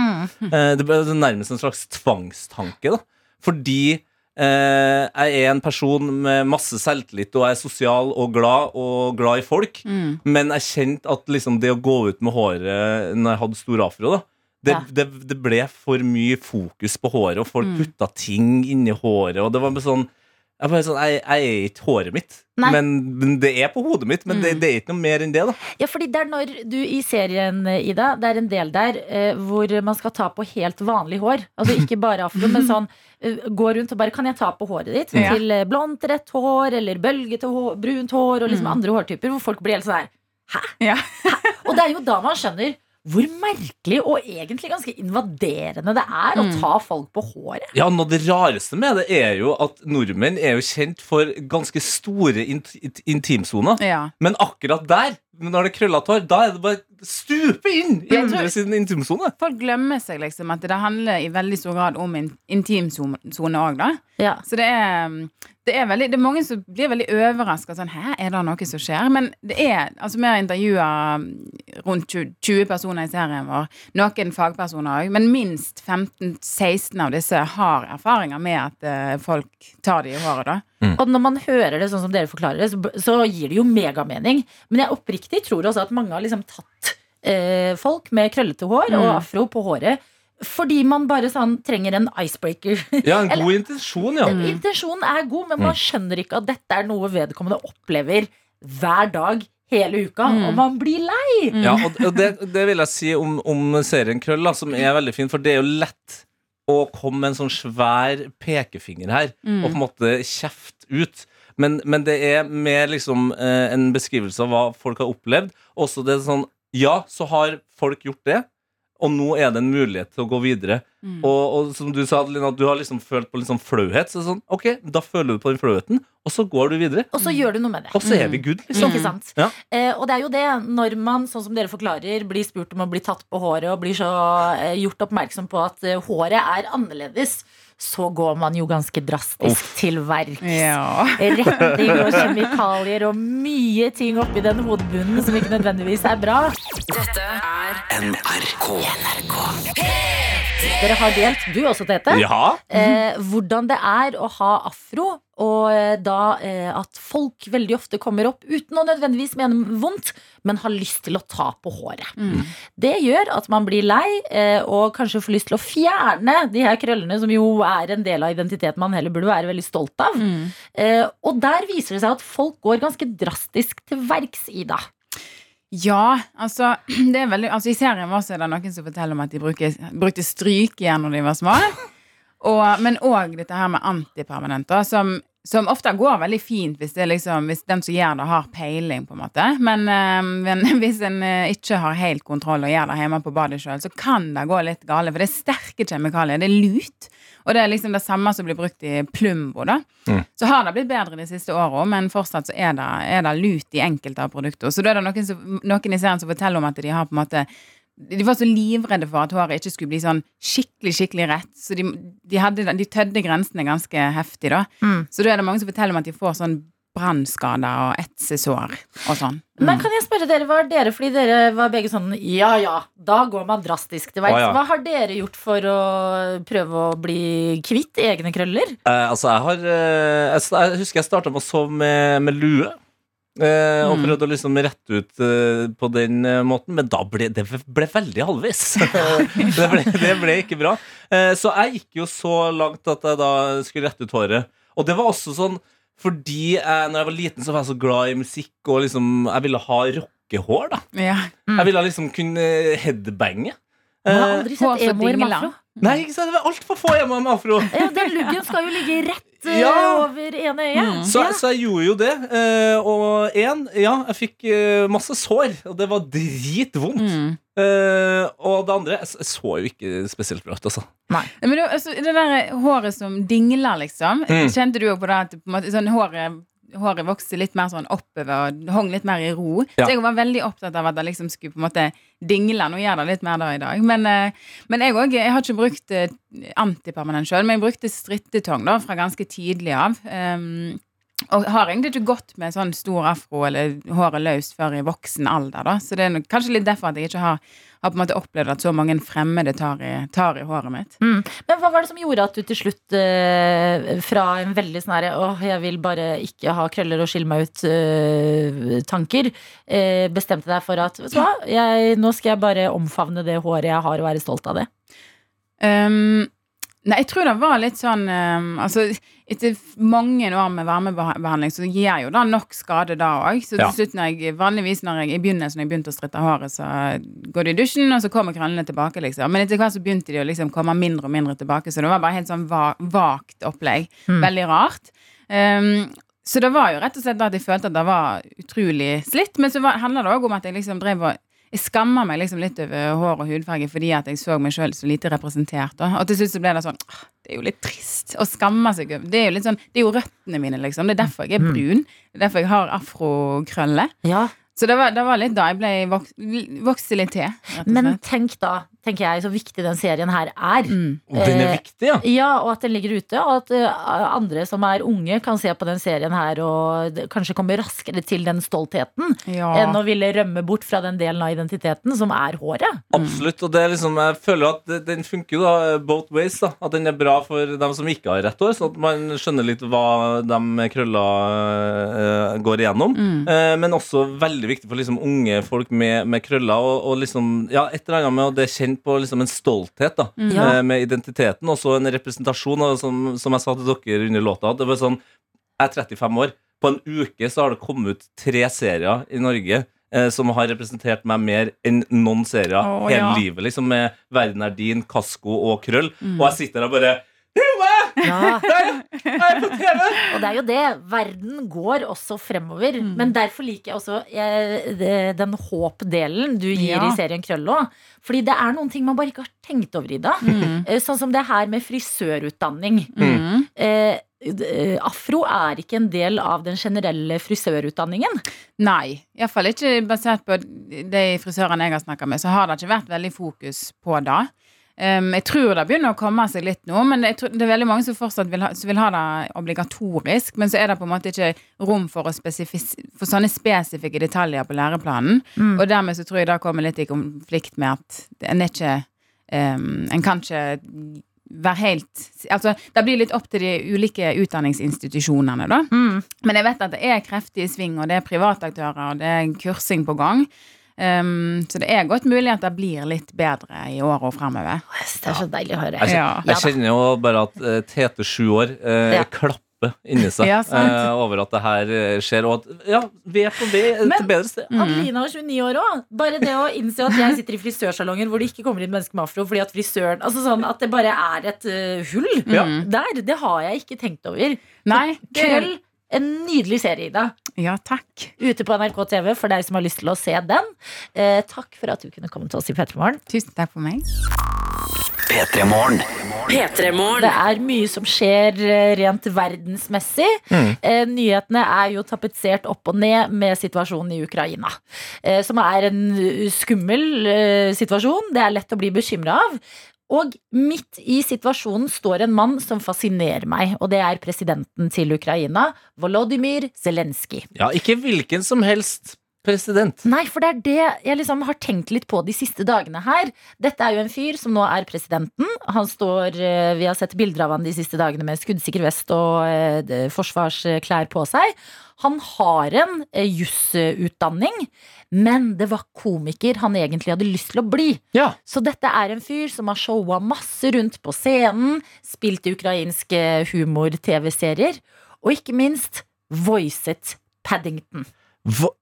S3: Eh, Det ble nærmest en slags tvangstanke, da. Fordi eh, jeg er en person med masse selvtillit, og jeg er sosial og glad, og glad i folk.
S8: Mm.
S3: Men jeg kjente at liksom det å gå ut med håret når jeg hadde stor afro, da det,
S2: Ja. Mm.
S3: det, det ble for mye fokus på håret, og folk putta ting inni håret, og det var bare sånn jeg, bare sånn, jeg, jeg er ikke håret mitt,
S2: Nei. Mm.
S3: men, men det er på hodet mitt. Men det, det er ikke noe mer enn det, da.
S2: Ja, fordi det er når du i serien, Ida, det er en del der eh, hvor man skal ta på helt vanlig hår. Altså ikke bare afro, men sånn eh, gå rundt og bare Kan jeg ta på håret ditt?
S8: Ja.
S2: Til eh, blondt, rett hår eller bølgete hår, brunt hår og liksom andre hårtyper. Hvor folk blir helt sånn her.
S8: Ja.
S2: Og det er jo da man skjønner hvor merkelig og egentlig ganske invaderende det er å ta folk på håret.
S3: Ja, Noe av det rareste med det er jo at nordmenn er jo kjent for ganske store int int- intimsoner.
S8: Ja.
S3: Men akkurat der, når det er krøllete hår, da er det bare stupe inn i
S8: Jeg tror-
S3: andre sin intimsone.
S8: Folk glemmer seg liksom at det handler i veldig stor grad om in intimsone òg, da.
S2: Ja.
S8: Så det er, mm, det er veldig Det er mange som blir veldig overraska sånn Hæ, er det noe som skjer? Men det er Altså, vi har intervjua rundt 20 20 personer i serien vår. Noen fagpersoner òg. Men minst 15-16 av disse har erfaringer med at eh, folk tar det i håret, da.
S2: Og når man hører det sånn som dere forklarer det, så, b- så gir det jo megamening. Men jeg oppriktig tror også at mange har liksom tatt eh, folk med krøllete hår og
S8: Mm.
S2: afro på håret fordi man bare sånn trenger en icebreaker. [LAUGHS]
S3: Ja, en
S2: Eller-
S3: god intensjon, ja.
S2: Intensjonen er god,
S8: Mm.
S2: men man skjønner ikke at dette er noe vedkommende opplever hver dag hele uka.
S8: Mm.
S2: Og man blir lei.
S3: Ja, og og det, det vil jeg si om, om serien Krøll, da, som er veldig fin, for det er jo lett å komme med en sånn svær pekefinger her, og på en måte kjeft ut. Men, men det er mer liksom eh, en beskrivelse av hva folk har opplevd. Også det er sånn Ja, så har folk gjort det, og nå er det en mulighet til å gå videre. Og, og som du sa, Adelina, at du har liksom følt på litt sånn flauhet. Så det er sånn, ok, da føler du på den flauheten, og så går du videre.
S2: Og så
S8: Mm.
S2: gjør du noe med det.
S3: Og så er vi good, liksom.
S2: Ikke sant?
S3: Ja.
S2: Eh, og det er jo det, når man, sånn som dere forklarer, blir spurt om å bli tatt på håret og blir så eh, gjort oppmerksom på at eh, håret er annerledes, så går man jo ganske drastisk til verks.
S8: Ja.
S2: Retting og kjemikalier og mye ting oppi den hodebunnen som ikke nødvendigvis er bra.
S5: Dette er
S1: NRK.
S2: Dere har delt, du også, Tete,
S3: Ja.
S2: eh, hvordan det er å ha afro. Og eh, da eh, at folk veldig ofte kommer opp uten å nødvendigvis mene vondt, men har lyst til å ta på håret. Det gjør at man blir lei eh, og kanskje får lyst til å fjerne de her krøllene, som jo er en del av identiteten man heller burde være veldig stolt av.
S8: Mm.
S2: Eh, og der viser det seg at folk går ganske drastisk til verks, Ida.
S8: Ja, altså, [CLEARS THROAT] det er veldig, altså I serien vår så er det noen som forteller om at de bruker, brukte stryk igjen når de var små. Og, men òg dette her med antipermanenter, som, som ofte går veldig fint hvis, det er liksom, hvis den som gjør det, har peiling. på en måte. Men, eh, men [LAUGHS] hvis en eh, ikke har helt kontroll og gjør det hjemme på badet sjøl, så kan det gå litt gale. For det er sterke kjemikalier. Det er lut. Og det er liksom det samme som blir brukt i Plumbo. da. Så har det blitt bedre de siste åra, men fortsatt så er det, er det lut i enkelte av produktene. Så da er det noen, som, noen i serien som forteller om at de har på en måte de var så livredde for at håret ikke skulle bli sånn skikkelig skikkelig rett. Så de, de, hadde, de tødde grensene ganske heftig, da.
S2: Mm.
S8: Så da er det mange som forteller om at de får sånn brannskader og etsesår og sånn.
S3: Mm.
S2: Men kan jeg spørre dere, hva har dere, fordi dere var begge sånn ja ja, da går man drastisk til verks.
S3: Å, ja.
S2: Hva har dere gjort for å prøve å bli kvitt egne krøller?
S3: Eh, altså, jeg har eh, jeg, sta- jeg husker jeg starta med å sove med, med lue. eh, Og prøvde å liksom rette ut eh, på den eh, måten, men da ble det ble veldig halvvis. [LAUGHS] det, ble, det ble ikke bra. Eh, så jeg gikk jo så langt at jeg da skulle rette ut håret. Og det var også sånn fordi jeg, når jeg var liten, så var jeg så glad i musikk, og liksom, jeg ville ha rockehår. da
S8: Mm. Ja.
S3: Jeg ville liksom kunne headbange.
S2: Man
S3: Eh,
S2: har aldri
S8: Hår
S2: sett
S8: for
S2: emoer med
S8: dingler.
S2: afro.
S3: nei, ikke sant? Det var altfor få hjemme med afro.
S2: Ja, den luggen skal jo ligge rett eh,
S3: Ja. Mm.
S2: over ene øyet.
S3: Så, så jeg gjorde jo det. eh, Og én, ja, jeg fikk eh, masse sår, og det var dritvondt.
S8: Mm.
S3: Eh, og det andre, jeg s- jeg så jo ikke spesielt bra ut, altså.
S8: Men det, altså, det der håret som dingler, liksom.
S3: Mm.
S8: Kjente du òg på det at på en måte, sånn, håret, håret vokste litt mer sånn oppover og hang litt mer i ro?
S3: Ja.
S8: Så jeg var veldig opptatt av at det liksom skulle på en måte dingle. Nå gjør det litt mer da i dag. Men, eh, men jeg òg. Jeg har ikke brukt eh, antipermanent sjøl, men jeg brukte strittetong da, fra ganske tidlig av. Um, og har egentlig ikke gått med sånn stor afro eller håret løst før i voksen alder. da Så det er nok- kanskje litt derfor at jeg ikke har, har på en måte opplevd at så mange fremmede tar i, tar i håret mitt.
S2: Men hva var det som gjorde at du til slutt, eh, fra en veldig sånn herre åh, jeg vil bare ikke ha krøller og skille meg ut-tanker, eh, bestemte deg for at vet du hva, jeg, nå skal jeg bare omfavne det håret jeg har, og være stolt av det?
S8: Um, nei, jeg tror det var litt sånn um, Altså, etter f- mange år med varmebehandling, så gir jo det nok skade da òg. Så til
S3: Ja.
S8: slutt når jeg vanligvis når jeg, i begynnelsen når jeg begynte å stritte håret, så går du i dusjen, og så kommer krøllene tilbake, liksom. Men etter hvert så begynte de å liksom komme mindre og mindre tilbake, så det var bare helt sånn va vagt opplegg. Veldig rart. Um, så det var jo rett og slett da at jeg følte at det var utrolig slitt. Men så var- handler det òg om at jeg liksom drev og Jeg skammer meg liksom litt over hår og hudfarge fordi at jeg så meg sjøl så lite representert. Da. Og til slutt så ble det sånn «Åh, Det er jo litt trist å skamme seg over. Det er jo litt sånn, det er jo røttene mine, liksom. Det er derfor jeg er brun. Det er derfor jeg har afrokrøller.
S2: Ja,
S8: Så det var, det var litt da jeg ble vok vokste litt til. Rett og
S2: Men
S8: slett.
S2: tenk da, tenker jeg, så viktig den serien her er.
S8: Mm.
S3: Og den er
S2: Eh,
S3: viktig, ja.
S2: Ja, og at den ligger ute, og at eh, andre som er unge kan se på den serien her og det- kanskje komme raskere til den stoltheten
S8: Ja.
S2: enn å ville rømme bort fra den delen av identiteten som er håret.
S3: Absolutt. Og det er liksom, jeg føler at det- den funker jo da eh, both ways. da At den er bra for dem som ikke har rett hår, sånn at man skjønner litt hva de med krøller eh, går igjennom. Eh, men også veldig viktig for liksom unge folk med, med krøller. Og, og liksom, ja, et eller annet med at det er kjent på liksom en stolthet da
S2: Ja.
S3: eh, med identiteten. Og så en representasjon, og som, som jeg sa til dere under låta. at Det var sånn, jeg er 35 år. På en uke så har det kommet ut tre serier i Norge eh, som har representert meg mer enn noen serier
S8: Å,
S3: hele
S8: ja.
S3: livet. liksom Med 'Verden er din', 'Kasko' og 'Krøll'.
S8: Mm.
S3: Og jeg sitter der og bare
S2: Ja.
S3: Jeg er på TV!
S2: Og det er jo det. Verden går også fremover. Men derfor liker jeg også eh, det- den håp-delen du gir
S8: Ja.
S2: i serien Krøll òg. Fordi det er noen ting man bare ikke har tenkt over, Ida. Eh, Sånn som det her med frisørutdanning.
S8: Mm.
S2: Eh, d- eh, afro er ikke en del av den generelle frisørutdanningen.
S8: Nei. Iallfall ikke basert på de frisørene jeg har snakka med, så har det ikke vært veldig fokus på det. Um, jeg tror det begynner å komme seg litt nå, men jeg tror, det er veldig mange som fortsatt vil ha, som vil ha det obligatorisk. Men så er det på en måte ikke rom for, å spesifis for sånne spesifikke detaljer på læreplanen. Og dermed så tror jeg det kommer litt i konflikt med at en er ikke um, En kan ikke være helt Altså, det blir litt opp til de ulike utdanningsinstitusjonene, da. Men jeg vet at det er kreftige sving, og det er private aktører, og det er kursing på gang. Um, så det er godt mulig at det blir litt bedre i åra fremover.
S2: Det er så deilig å høre.
S3: Jeg,
S8: Ja.
S3: kjenner,
S4: Altså,
S3: jeg kjenner jo bare at eh, Tete, sju år, eh,
S2: Ja.
S3: klapper inni seg
S8: [LAUGHS] Ja, sant.
S3: eh, over at det her eh, skjer, og at ja, vi er på
S2: Men-
S3: vei eh,
S2: altså,
S3: til bedre sted.
S2: Adelina er 29 år òg. Bare det å innse at jeg sitter i frisørsalonger hvor det ikke kommer inn mennesker med afro fordi at frisøren Altså sånn at det bare er et eh, hull
S3: Ja.
S8: Mm.
S2: der. Det har jeg ikke tenkt over.
S8: Nei, det er,
S2: Krøll, en nydelig serie, Ida.
S8: ja takk.
S2: Ute på NRK TV for deg som har lyst til å se den. Eh, takk for at du kunne komme til oss i Petremorgen.
S8: Tusen takk for meg.
S1: P3morgen.
S2: Det
S5: P3morgen.
S2: er mye som skjer eh, rent verdensmessig.
S8: Mm.
S2: Eh, nyhetene er jo tapetsert opp og ned med situasjonen i Ukraina. Eh, som er en eh, skummel eh, situasjon. Det er lett å bli bekymra av. Og midt i situasjonen står en mann som fascinerer meg, og det er presidenten til Ukraina, Volodymyr Zelenskyj.
S3: Ja, ikke hvilken som helst president.
S2: Nei, for det er det jeg liksom har tenkt litt på de siste dagene her. Dette er jo en fyr som nå er presidenten. Han står, eh, Vi har sett bilder av han de siste dagene med skuddsikker vest og eh, det- forsvarsklær på seg. Han har en eh, jusutdanning, men det var komiker han egentlig hadde lyst til å bli.
S3: Ja.
S2: Så dette er en fyr som har showa masse rundt på scenen, spilt i ukrainske humor-TV-serier, og ikke minst voicet Paddington.
S3: Hva?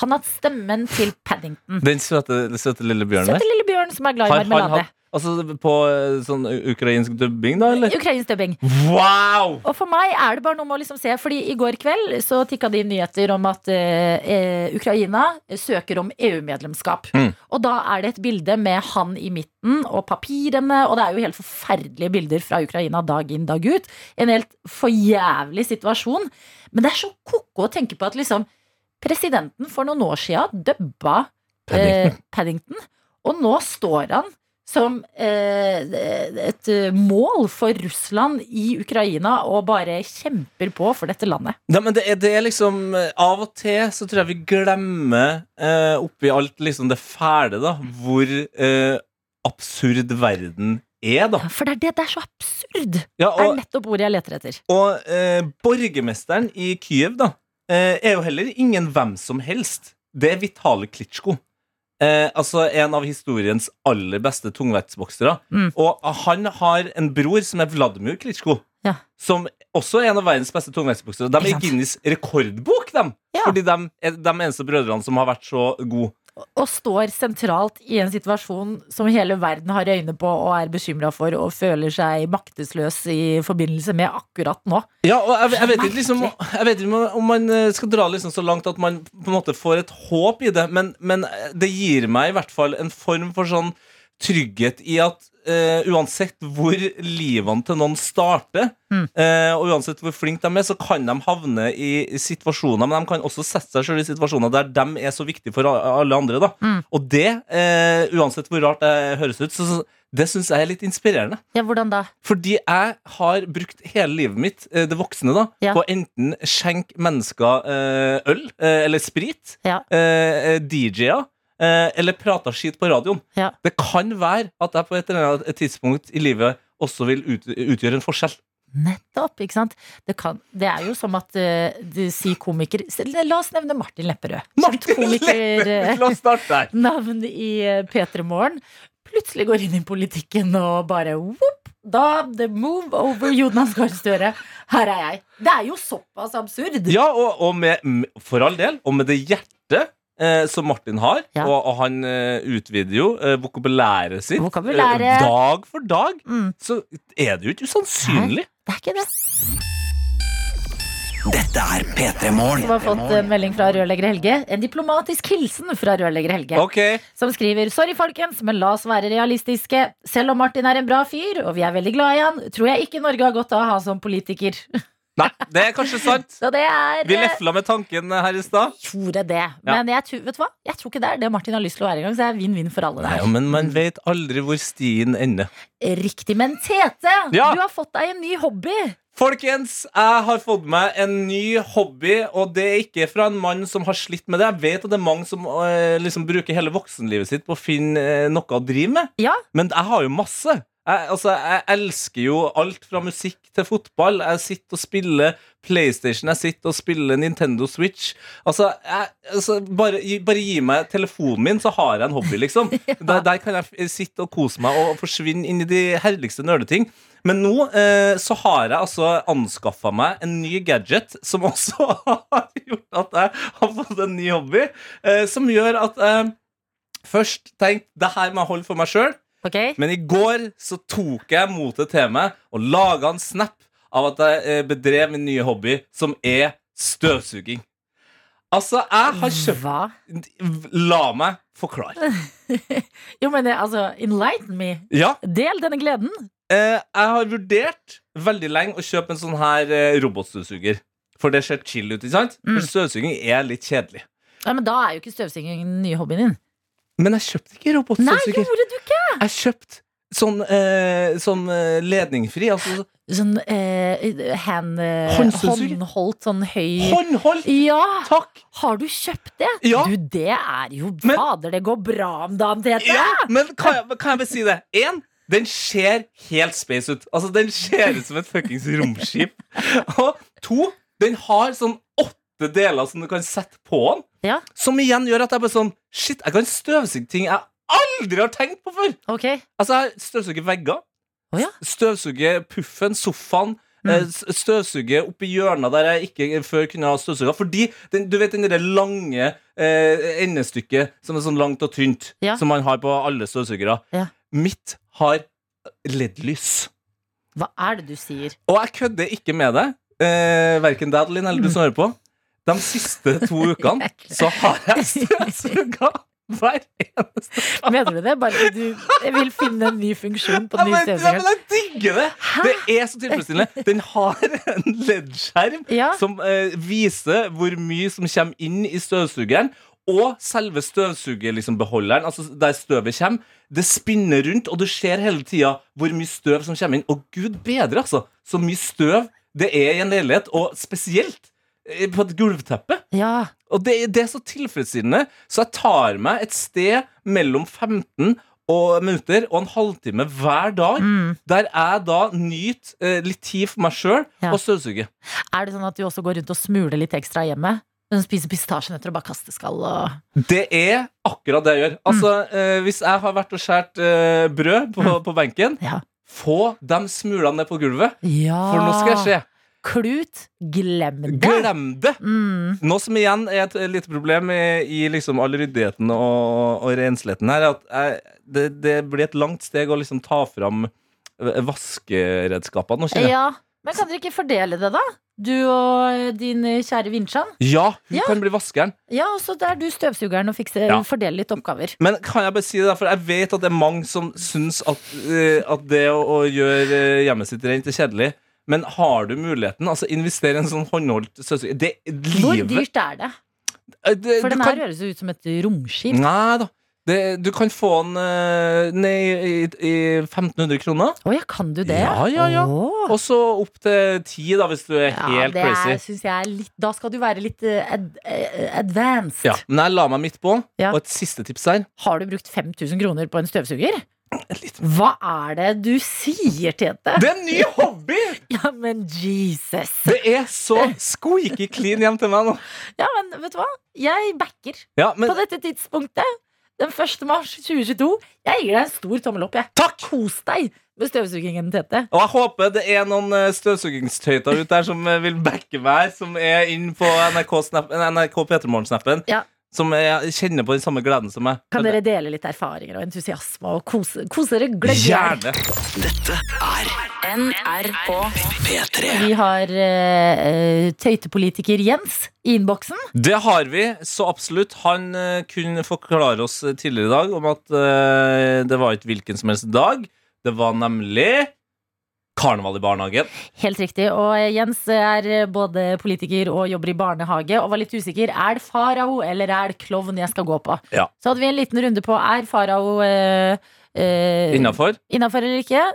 S2: Han har hatt stemmen til Paddington.
S3: Den søte, den søte lille bjørnen
S2: Søte
S3: der.
S2: lille bjørn som er glad i
S3: Har han
S2: marmelade.
S3: hatt altså, på eh, sånn ukrainsk dubbing, da, eller?
S2: Ukrainsk dubbing.
S3: Wow!
S2: Og for meg er det bare noe med å liksom se, fordi i går kveld så tikka det inn nyheter om at eh, eh, Ukraina søker om EU-medlemskap.
S3: Mm.
S2: Og da er det et bilde med han i midten og papirene, og det er jo helt forferdelige bilder fra Ukraina dag inn, dag ut. En helt forjævlig situasjon. Men det er så ko-ko å tenke på at liksom presidenten for noen år siden dubba eh, Paddington, og nå står han som eh, et eh, mål for Russland i Ukraina og bare kjemper på for dette landet.
S3: Nei, men det er, det er liksom eh, Av og til så tror jeg vi glemmer eh, oppi alt liksom det fæle, da, hvor eh, absurd verden er, da.
S2: For det er det, det er så absurd! Det
S3: Ja,
S2: er
S3: og
S2: nettopp ordet jeg leter etter.
S3: og eh, borgermesteren i Kyiv, da, eh, er jo heller ingen hvem som helst. Det er Vitale Klitsjko. Eh, altså en av historiens aller beste tungvektsboksere.
S2: Mm.
S3: Og han har en bror som er Vladimir Klitsjko.
S2: Ja.
S3: Som også er en av verdens beste tungvektsboksere. De
S2: Ikke
S3: er i
S2: sant?
S3: Guinness rekordbok, dem!
S2: Ja.
S3: Fordi de er de eneste brødrene som har vært så gode.
S2: og står sentralt i en situasjon som hele verden har øyne på og er bekymra for og føler seg maktesløs i forbindelse med akkurat nå.
S3: Ja, og jeg, jeg, vet ikke, liksom, jeg vet ikke om man eh, skal dra liksom så langt at man på en måte får et håp i det, men, men eh, det gir meg i hvert fall en form for sånn trygghet i at eh, uansett hvor livene til noen starter, eh, og uansett hvor flinke de er, så kan de havne i situasjoner, men de kan også sette seg selv i situasjoner der de er så viktige for a- alle andre. Da. Og det, eh, uansett hvor rart det høres ut, så, så, det syns jeg er litt inspirerende.
S2: Ja, hvordan da?
S3: Fordi jeg har brukt hele livet mitt, eh, det voksne, da,
S2: Ja.
S3: på enten skjenk mennesker eh, øl eh, eller sprit,
S2: Ja.
S3: eh, DJ-er, eh, eller prata skit på radioen.
S2: Ja.
S3: Det kan være at jeg på et eller annet tidspunkt i livet også vil ut, utgjøre en forskjell.
S2: [LAUGHS] Nettopp, ikke sant? Det, kan, det er jo som at eh, du sier komiker Se, La oss nevne Martin Lepperød. Kjent
S3: Martin
S2: komiker, eh,
S3: La oss starte der.
S2: navn i eh, P3 Morgen. Plutselig går inn i politikken og bare whoop, da, the move over Jonas Gahr Støre. Her er jeg. Det er jo såpass absurd.
S3: Ja, og, og med, m- for all del, og med det hjertet eh, som Martin har,
S2: Ja.
S3: og, og han eh, utvider jo eh, vokabulæret sitt
S2: Vokabulæret.
S3: eh, dag for dag,
S2: Mm.
S3: så er det jo ikke usannsynlig.
S2: Det er ikke det.
S1: Dette er P3 Morgen.
S2: Vi har fått en melding fra rørlegger Helge. En diplomatisk hilsen fra rørlegger Helge.
S3: Ok eh,
S2: Som skriver Sorry, folkens, men la oss være realistiske. Selv om Martin er en bra fyr, og vi er veldig glad i han, tror jeg ikke Norge har godt av å ha han som politiker. [LAUGHS]
S3: Nei, det er kanskje sant.
S2: Så det er
S3: Vi
S2: eh,
S3: lefla med tanken her i
S2: [LAUGHS]
S3: stad.
S2: Gjorde det. Men jeg, tror- vet du hva? jeg tror ikke det er det Martin har lyst til å være engang, så det er vinn-vinn for alle. det
S3: Nei,
S2: her.
S3: men man vet aldri hvor stien ender.
S2: Riktig. Men Tete,
S3: Ja.
S2: du har fått deg en ny hobby.
S3: Folkens, jeg har fått meg en ny hobby, og det er ikke fra en mann som har slitt med det. Jeg vet at det er mange som eh, liksom bruker hele voksenlivet sitt på å finne eh, noe å drive med,
S2: Ja.
S3: men jeg har jo masse. Jeg, altså, jeg elsker jo alt fra musikk til fotball. Jeg sitter og spiller PlayStation, jeg sitter og spiller Nintendo Switch. Altså, jeg, altså bare, gi- bare gi meg telefonen min, så har jeg en hobby, liksom. der, der kan jeg f- eh, sitte og kose meg og forsvinne inn i de herligste nerdeting. Men nå eh, så har jeg altså anskaffa meg en ny gadget, som også [LAUGHS] har gjort at jeg har fått en ny hobby, eh, som gjør at jeg først tenkte det her må jeg holde for meg sjøl.
S2: Ok?
S3: Men i går så tok jeg motet til meg og laga en snap av at jeg eh, bedrev min nye hobby, som er støvsuging. Altså, jeg har kjøpt
S2: Hva? [LAUGHS]
S3: La meg forklare.
S2: Jo, men det, altså, enlighten me.
S3: Ja,
S2: Del denne gleden.
S3: eh, jeg har vurdert veldig lenge å kjøpe en sånn her eh, robotstøvsuger. For det ser chill ut, ikke sant?
S2: Mm.
S3: For støvsuging er litt kjedelig.
S2: Ja, men da er jo ikke støvsuging den nye hobbyen din.
S3: Men jeg kjøpte ikke
S2: Nei,
S3: robotstøvsuger.
S2: gjorde du ikke?
S3: Jeg kjøpte sånn, eh, sånn eh, ledningfri, altså
S2: Sånn eh, hand, eh,
S3: Håndstøvsuger.
S2: håndholdt, sånn høy
S3: håndholdt!
S2: Ja!
S3: Takk!
S2: Har du kjøpt det?
S3: Ja.
S2: Du, det er jo
S3: Men-
S2: Fader, det går bra om dagen, Tete!
S3: Ja, men kan jeg, kan jeg bare si det? En, den ser helt space ut. Altså, den ser ut som et fuckings romskip. Og to, den har sånn åtte deler som du kan sette på den.
S2: Ja.
S3: Som igjen gjør at jeg bare sånn Shit, jeg kan støvsuge ting jeg aldri har tenkt på før.
S2: Ok.
S3: Altså, jeg støvsuger vegger.
S2: Å, ja.
S3: Støvsuger puffen, sofaen.
S2: Mm.
S3: eh, s- Støvsuger oppi hjørnet der jeg ikke før kunne ha støvsuga. Fordi den, du vet den det lange eh, endestykket som er sånn langt og tynt,
S2: Ja.
S3: som man har på alle støvsugere.
S2: Ja.
S3: Mitt har LED-lys.
S2: Hva er det du sier?
S3: Og jeg kødder ikke med det. Eh, verken deg, Adeline, eller du som hører på. De siste [LAUGHS] to ukene så har jeg støvsuga hver eneste
S2: Mener du det? Bare du jeg vil finne en ny funksjon på den nye
S3: Ja, men, ja, men
S2: støvsugeren?
S3: jeg digger det! Det er så tilfredsstillende. Den har en LED-skjerm
S2: Ja.
S3: som eh, viser hvor mye som kommer inn i støvsugeren. Og selve støvsugerbeholderen, liksom, beholderen, altså der støvet kommer, det spinner rundt, og du ser hele tida hvor mye støv som kommer inn. Og gud bedre, altså! Så mye støv det er i en leilighet, og spesielt eh, på et gulvteppe.
S2: Ja.
S3: Og det, det er så tilfredsstillende, så jeg tar meg et sted mellom 15 og minutter og en halvtime hver dag,
S2: Mm.
S3: der jeg da nyter eh, litt tid for meg sjøl
S2: Ja.
S3: og støvsuger.
S2: Er det sånn at du også går rundt og smuler litt ekstra hjemme? Men spiser pistasjenøtter og bare kaster skall og
S3: Det er akkurat det jeg gjør. Altså,
S2: Mm.
S3: eh, Hvis jeg har vært og skåret eh, brød på, på benken,
S2: Ja.
S3: få de smulene ned på gulvet,
S2: Ja.
S3: for nå skal jeg se.
S2: Klut, glem Ah, det.
S3: Glem det!
S2: Mm.
S3: Noe som igjen er et lite problem i, i liksom all ryddigheten og, og rensligheten her, er at jeg, det, det blir et langt steg å liksom ta fram eh, vaskeredskapene. nå, kjenner jeg.
S2: Ja, men kan dere ikke fordele det, da? Du og eh, din eh, kjære Vinsjan.
S3: Ja, hun
S2: Ja.
S3: kan bli vaskeren.
S2: Ja, og så er du støvsugeren og fikser,
S3: Ja.
S2: fordeler litt oppgaver.
S3: Men kan jeg bare si det, der, for jeg vet at det er mange som syns at, eh, at det å, å gjøre eh, hjemmet sitt rent er kjedelig. Men har du muligheten? Altså Investere i en sånn håndholdt støvsuger. Det
S2: Hvor
S3: livet
S2: dyrt er det?
S3: eh, det-
S2: For
S3: du
S2: den
S3: kan-
S2: her høres jo ut som et romskip.
S3: Nei da. Det, du kan få den eh, ned i, i 1500 kroner.
S2: Å ja, kan du det?
S3: Ja, ja, ja.
S2: Å.
S3: Og så opp til ti, da, hvis du er
S2: Ja,
S3: helt
S2: det er,
S3: crazy.
S2: synes jeg er litt Da skal du være litt eh, ad, eh, advanced.
S3: Ja, men jeg la meg midt på.
S2: Ja.
S3: Og et siste tips her.
S2: Har du brukt 5000 kroner på en støvsuger?
S3: litt.
S2: Hva er det du sier, Tete?
S3: Det er en ny hobby!
S2: Ja, men Jesus!
S3: Det er så squeaky clean hjem til meg nå.
S2: Ja, men vet du hva? Jeg backer
S3: Ja, men
S2: på dette tidspunktet. Den 1. mars 2022. Jeg gir deg en stor tommel opp. jeg
S3: takk!
S2: Kos deg med støvsugingen, Tete.
S3: Og jeg håper det er noen eh, støvsugingstøyter ute der som eh, vil backe meg, som er inn på NRK, Snap- eh, NRK P3morgen-snappen,
S2: Ja.
S3: som eh, kjenner på den samme gleden som meg.
S2: Kan dere dele litt erfaringer og entusiasme og kose, kose dere? Gløgg i hjel.
S3: Gjerne!
S5: NRK.
S1: P3
S2: Vi har eh, eh, tøytepolitiker Jens i innboksen.
S3: Det har vi, så absolutt. Han eh, kunne forklare oss eh, tidligere i dag om at eh, det var ikke hvilken som helst dag. Det var nemlig karneval i barnehagen.
S2: Helt riktig. Og eh, Jens er både politiker og jobber i barnehage og var litt usikker. Er det farao eller er det klovn jeg skal gå på?
S3: Ja.
S2: Så hadde vi en liten runde på er farao eh, eh,
S3: Innafor?
S2: innafor eller ikke.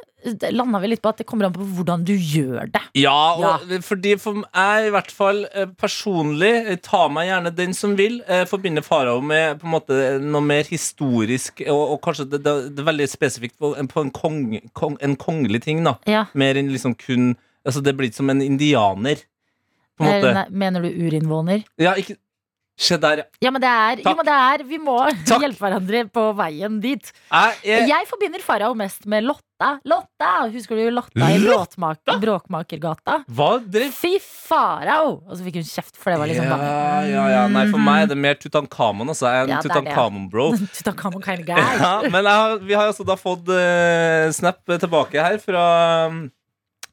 S2: Landa vi litt på at det kommer an på hvordan du gjør det.
S3: Ja, og, fordi for jeg i hvert fall eh, personlig eh, tar meg gjerne den som vil. eh, Forbinder farao med på en måte noe mer historisk og, og kanskje det, det, det er veldig spesifikt på, en- på en, kong, kong, en kongelig ting. da
S2: Ja.
S3: Mer enn liksom kun Altså Det blir ikke som en indianer. På en måte.
S2: Eller, nei, Eh, mener du urinnvåner?
S3: Ja, ikke Se der, ja.
S2: Ja, men det er, jo,
S3: Takk.
S2: men det er Vi må
S3: [LAUGHS] Takk. Eh.
S2: hjelpe hverandre på veien dit.
S3: Jeg er
S2: Jeg forbinder farao mest med Lotta. Lotta! Husker du Lotta i Bråtmak- Bråkmakergata?
S3: Hva drev
S2: Fy farao! Og så fikk hun kjeft, for det var liksom bare
S3: Ja, ja, ja. Nei, for meg er det mer Tutankhamon. Altså. Jeg er en
S2: Ja, det er det, ja.
S3: Tutankhamon-bro.
S2: [LAUGHS] Tutankhamon kind of guy.
S3: Ja, men jeg, har- vi har altså da fått eh, snap tilbake her fra,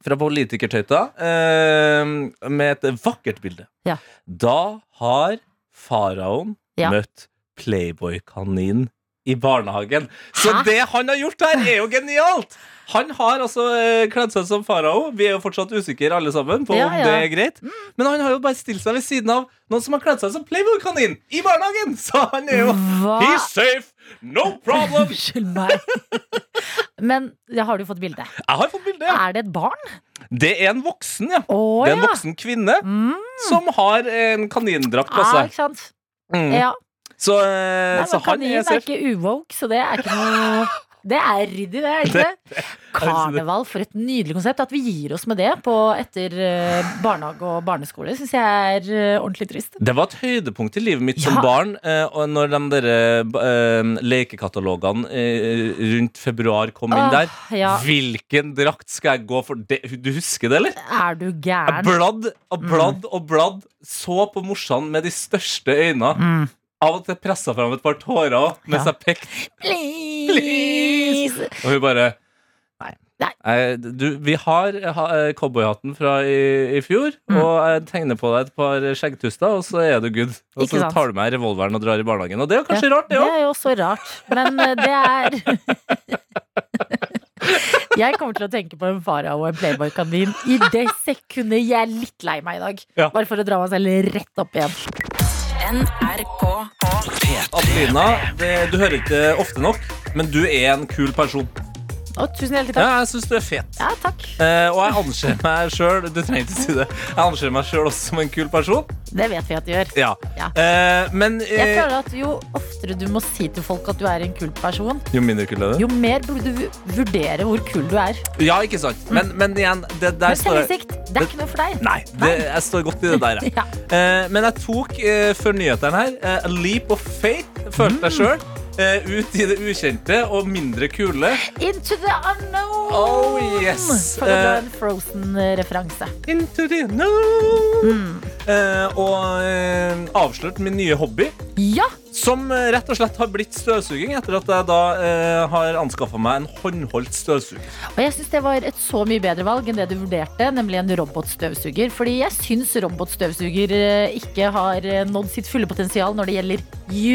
S3: fra politikertøyta eh, med et vakkert bilde.
S2: Ja.
S3: Da har faraoen
S2: Ja.
S3: møtt Playboy-kaninen i barnehagen. Så
S2: Hæ?
S3: det han har gjort her, er jo genialt! Han har altså eh, kledd seg som farao. Vi er jo fortsatt usikre alle sammen på
S2: Ja,
S3: om
S2: ja. Mm.
S3: det er greit. Men han har jo bare stilt seg ved siden av noen som har kledd seg som Playboy-kanin i barnehagen! Så han er jo
S2: Hva?
S3: He's safe! No problem!
S2: Unnskyld meg. [LAUGHS] Men ja, har du fått bilde?
S3: Jeg har fått bilde, ja.
S2: Er det et barn?
S3: Det er en voksen, ja.
S2: Ah. Å
S3: Det er en
S2: ja!
S3: voksen kvinne
S2: Mm.
S3: som har en kanindrakt på
S2: Ah,
S3: seg.
S2: ikke sant?
S3: Mm.
S2: Ja.
S3: Så, eh,
S2: Nei,
S3: så
S2: men
S3: han
S2: kanin
S3: er
S2: er
S3: safe.
S2: ikke uwoke, så det er ikke noe Det er ryddig, det,
S3: [LAUGHS]
S2: er ikke det? Karneval, for et nydelig konsept. At vi gir oss med det på etter eh, barnehage og barneskole, syns jeg er eh, ordentlig trist.
S3: Det var et høydepunkt i livet mitt som
S2: Ja.
S3: barn. eh, Og når de der, eh, lekekatalogene eh, rundt februar kom inn der.
S2: Åh, ja.
S3: Hvilken drakt skal jeg gå for? Det, du husker det, eller?
S2: Er du
S3: Jeg
S2: gæren?
S3: bladd
S2: Mm.
S3: og bladd og bladd. Så på morsan med de største øyne.
S2: Mm.
S3: Av og til pressa fram et par tårer også, mens
S2: Ja.
S3: jeg pekte.
S2: Please!
S3: Og hun bare Nei.
S2: Nei.
S3: Eh, Du, vi har ha, eh, cowboyhatten fra i, i fjor,
S2: Mm.
S3: og jeg tegner på deg et par skjeggtuster, og så er du good. Og
S2: Ikke
S3: så
S2: sant.
S3: tar du med revolveren og drar i barnehagen. Og det er jo kanskje rart, det
S2: Det
S3: òg.
S2: er jo også rart, men eh, det er [LAUGHS] Jeg kommer til å tenke på en farao og en playboy-kanin i det sekundet jeg er litt lei meg i dag.
S3: Ja.
S2: Bare for å dra meg selv rett opp igjen.
S5: NRK.
S3: Adelina, det, du hører ikke ofte nok, men du er en kul person.
S2: Å, tusen hjertelig takk.
S3: Ja, jeg syns du er fet.
S2: Ja, takk.
S3: Eh, og jeg anser meg sjøl Du trenger ikke si det. Jeg anser meg sjøl også som en kul person.
S2: Det vet vi at du gjør.
S3: Ja.
S2: Ja.
S3: Eh, men eh,
S2: Jeg føler at Jo oftere du må si til folk at du er en kul person,
S3: Jo mindre kul er du.
S2: jo mer burde du vu- vurdere hvor kul du er.
S3: Ja, ikke sant. Men, men igjen, det der
S2: Men
S3: står jeg-
S2: selvinnsikt, det er ikke noe for deg.
S3: Nei, det, jeg står godt i det der. jeg.
S2: Ja.
S3: Eh, men jeg tok eh, før nyhetene her eh, a leap of faith, følte jeg sjøl. eh, ut i det ukjente og mindre kule.
S2: Into the unknown!
S3: Oh, yes.
S2: For å dra
S3: Eh,
S2: en Frozen-referanse.
S3: Into the unknown. Eh, og eh, avslørt min nye hobby,
S2: Ja!
S3: som eh, rett og slett har blitt støvsuging, etter at jeg da eh, har anskaffa meg en håndholdt støvsuger.
S2: Og jeg syns det var et så mye bedre valg enn det du vurderte, nemlig en robotstøvsuger. Fordi jeg syns robotstøvsuger eh, ikke har eh, nådd sitt fulle potensial når det gjelder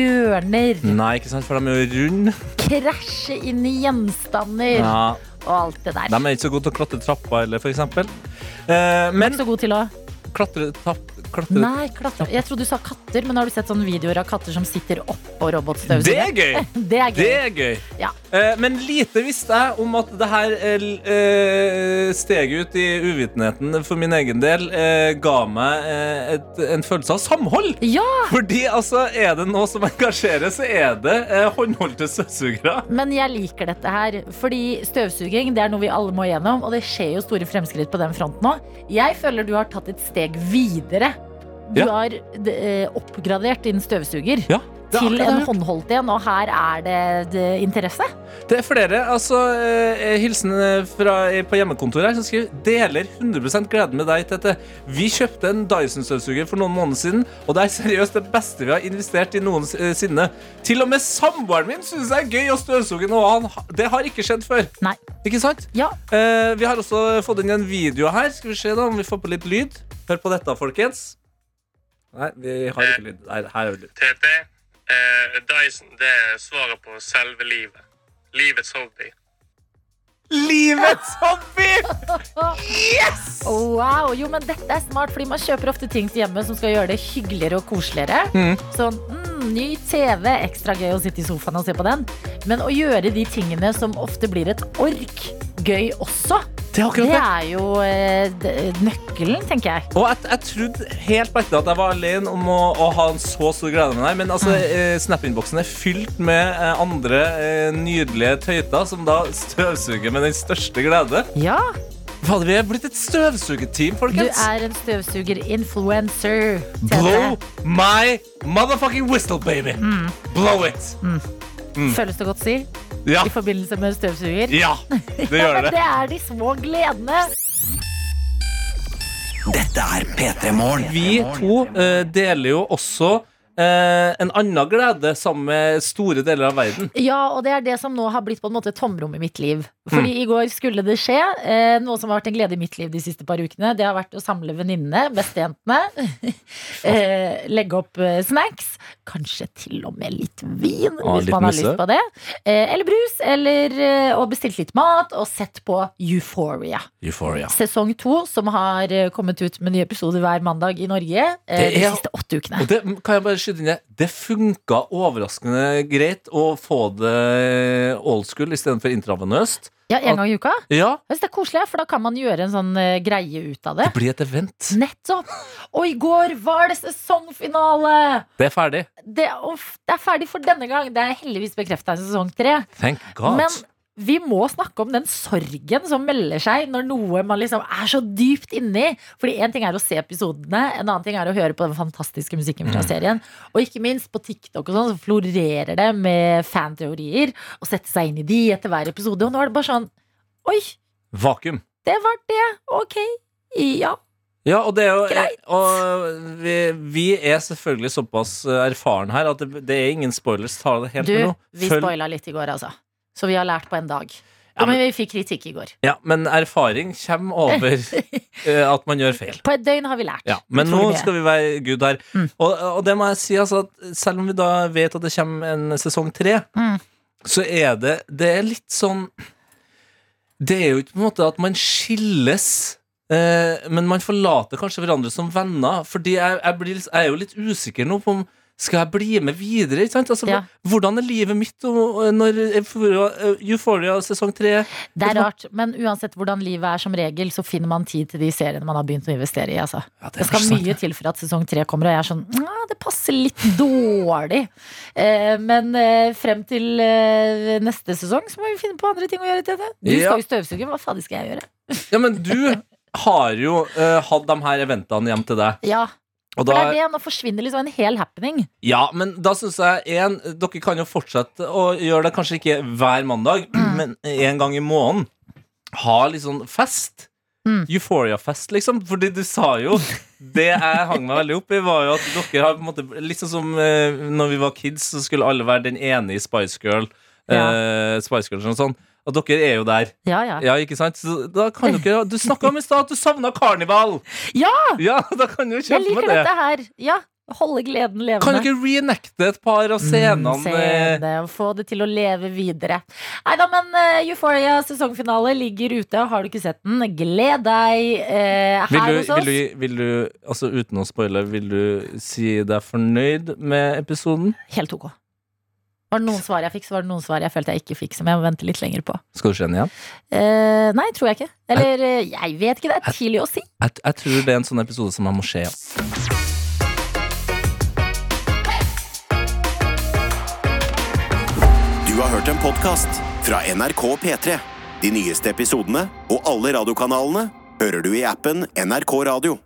S2: hjørner.
S3: Nei, ikke sant, for de er jo runde.
S2: Krasje inn i gjenstander
S3: Ja,
S2: og alt det der.
S3: de er ikke så gode til å klatre trappa heller, for eksempel. Eh, men
S2: Ikke så god til å
S3: klatre tapp, klatre
S2: Nei, klatre. Jeg trodde du sa katter, men har du sett sånne videoer av katter som sitter oppå
S3: Det
S2: robotstøvsugeren?
S3: er gøy!
S2: Det er gøy.
S3: Det er gøy.
S2: Ja.
S3: Eh, men lite visste jeg om at det her eh, l- eh, steget ut i uvitenheten for min egen del eh, ga meg eh, et, en følelse av samhold.
S2: Ja,
S3: Fordi altså, er det noe som engasjerer, så er det eh, håndholdte støvsugere.
S2: men jeg liker dette her. Fordi støvsuging det er noe vi alle må igjennom, og det skjer jo store fremskritt på den fronten nå. Jeg føler du har tatt et steg videre. Du
S3: Ja.
S2: har eh, oppgradert din støvsuger
S3: Ja, det er
S2: til
S3: akkurat det jeg
S2: en
S3: har
S2: håndholdt en, og her er det, det interesse.
S3: Det er flere. altså eh, Hilsen eh, fra, eh, på hjemmekontoret her som skriver Deler 100 gleden med deg, Tete. Vi kjøpte en Dyson-støvsuger for noen måneder siden, og det er seriøst det beste vi har investert i noensinne. Til og med samboeren min syns det er gøy å støvsuge noe. Han, ha- det har ikke skjedd før.
S2: Nei.
S3: Ikke sant?
S2: Ja,
S3: Eh, vi har også fått inn en video her. Skal vi se da om vi får på litt lyd? Hør på dette, folkens. Nei, vi har ikke lyd. Nei, her er det lyd.
S9: TT. Eh, Dyson det er svaret på selve livet. Livets hobby.
S3: Livets hobby!
S2: Wow, jo, men dette er smart, fordi man kjøper ofte ting til hjemme som skal gjøre det hyggeligere og koseligere. Sånn mm, ny TV, ekstra gøy å sitte i sofaen og se på den. Men å gjøre de tingene som ofte blir et ork, gøy også.
S3: Det er
S2: Det er jo eh, d- nøkkelen, tenker jeg.
S3: Og jeg, jeg trodde helt på ekte at jeg var alene om å, å ha en så stor glede med deg. Men altså, eh, Snap-innboksen er fylt med eh, andre eh, nydelige tøyter som da støvsuger med den største glede.
S2: Ja,
S3: Fader, vi er blitt et støvsugerteam,
S2: du
S3: folkens.
S2: er en støvsuger-influencer. Tete.
S3: Blow my motherfucking whistle, baby. Blow it.
S2: Føles det godt å si
S3: Ja.
S2: i forbindelse med støvsuger?
S3: ja, det gjør
S2: [LAUGHS]
S3: det.
S2: Det er de små gledene.
S1: Dette er P3 Morgen.
S3: Vi to eh, deler jo også eh, en annen glede sammen med store deler av verden.
S2: Ja, og det er det som nå har blitt på en måte et tomrom i mitt liv. Fordi
S3: Mm.
S2: i går skulle det skje. Eh, noe som har vært en glede i mitt liv de siste par ukene, det har vært å samle venninnene, [LAUGHS] bestejentene. eh, legge opp eh, snacks. Kanskje til og med litt vin,
S3: Ah,
S2: hvis
S3: litt
S2: man har
S3: musse.
S2: lyst på det. Eh, eller brus. Eller, eh, og bestilt litt mat, og sett på Euphoria.
S3: Euphoria.
S2: Sesong to, som har eh, kommet ut med nye episoder hver mandag i Norge eh,
S3: Det
S2: de
S3: er-
S2: siste åtte ukene.
S3: Og det kan jeg bare skyte inn det. Det funka overraskende greit å få det old school istedenfor intravenøst.
S2: Ja, En gang i uka.
S3: Ja,
S2: Jeg synes det er koselig, for da kan man gjøre en sånn eh, greie ut av det.
S3: det blir et event.
S2: Nettopp! Og i går var det sesongfinale!
S3: Det er ferdig.
S2: Det, uff, det er ferdig for denne gang. Det er heldigvis bekrefta i sesong tre.
S3: Thank God.
S2: Men vi må snakke om den sorgen som melder seg når noe man liksom er så dypt inni. Fordi én ting er å se episodene, en annen ting er å høre på den fantastiske musikken fra serien. Og ikke minst på TikTok og sånn, så florerer det med fanteorier. Og sette seg inn i de etter hver episode. Og nå er det bare sånn Oi,
S3: Vakuum.
S2: det var det. Ok. Ja.
S3: Ja, og det er jo
S2: Greit.
S3: Og vi, vi er selvfølgelig såpass eh, erfaren her at det, det er ingen spoilers. Ta det helt
S2: Du,
S3: med ro.
S2: vi
S3: Følg-
S2: spoila litt i går, altså. Så vi har lært på en dag.
S3: Ja,
S2: Ja,
S3: men-
S2: men vi fikk kritikk i går.
S3: Ja, men erfaring kommer
S2: [LAUGHS]
S3: over eh, at man gjør feil.
S2: På et døgn har vi lært.
S3: Ja, men nå
S2: Utrolig mye.
S3: skal vi være good her.
S2: Mm.
S3: Og, og det må jeg si, altså, at selv om vi da vet at det kommer en sesong tre,
S2: Mm.
S3: så er det Det er litt sånn Det er jo ikke på en måte at man skilles. Eh, men man forlater kanskje hverandre som venner. Fordi jeg, jeg, blir, jeg er jo litt usikker nå på om skal jeg bli med videre? Ikke sant? Altså,
S2: Ja.
S3: Hvordan er livet mitt og, og når Euphoria, Euphoria sesong tre
S2: Det er rart, men uansett hvordan livet er som regel, så finner man tid til de seriene man har begynt å investere i. Altså.
S3: Ja, det er
S2: Det skal
S3: kanskje sant,
S2: mye til for at sesong tre kommer, og jeg er sånn Nja, det passer litt dårlig. Eh, men eh, frem til eh, neste sesong så må vi finne på andre ting å gjøre til det. Du
S3: Ja.
S2: skal jo støvsuge, hva faen skal jeg gjøre?
S3: Ja, men du har jo eh, hatt de her eventene hjem til deg.
S2: Ja,
S3: Og
S2: For det
S3: da,
S2: er det, nå forsvinner liksom en hel happening.
S3: ja, men da syns jeg en, Dere kan jo fortsette å gjøre det, kanskje ikke hver mandag, [CLEARS THROAT] men en gang i måneden. Ha litt sånn fest.
S2: Mm.
S3: Euphoria-fest, liksom. Fordi du sa jo Det jeg hang meg veldig opp i, var jo at dere har på en måte Litt sånn som eh, når vi var kids, så skulle alle være den ene i Spice Girl. Eh, Spice Girls og sånn. Og dere er jo der.
S2: Ja, ja.
S3: Ja, ikke sant? Så da kan dere Du snakka om i stad at du savna karneval!
S2: Ja!
S3: Ja, da kan du jo
S2: Jeg
S3: kjempe med
S2: liker
S3: det.
S2: dette her. Ja, Holde gleden levende.
S3: Kan dere reenacte et par av scenene?
S2: Mm,
S3: eh,
S2: scene, og få det til å leve videre. Nei da, men eh, Euphoria sesongfinale ligger ute. Har du ikke sett den, gled deg eh, her
S3: Vil du,
S2: hos oss.
S3: vil, du, vil du, altså uten å spoile, vil du si deg fornøyd med episoden?
S2: Helt ok. Var det noen svar jeg fikk, så var det noen svar jeg følte jeg ikke fikk, som jeg må vente litt lenger på.
S3: Skal du se den igjen?
S2: Eh, nei, tror jeg ikke. Eller eh, jeg vet ikke, det er tidlig å si.
S3: Jeg, jeg tror det er en sånn episode som man må se. Ja.
S1: Du har hørt en podkast fra NRK P3. De nyeste episodene og alle radiokanalene hører du i appen NRK Radio.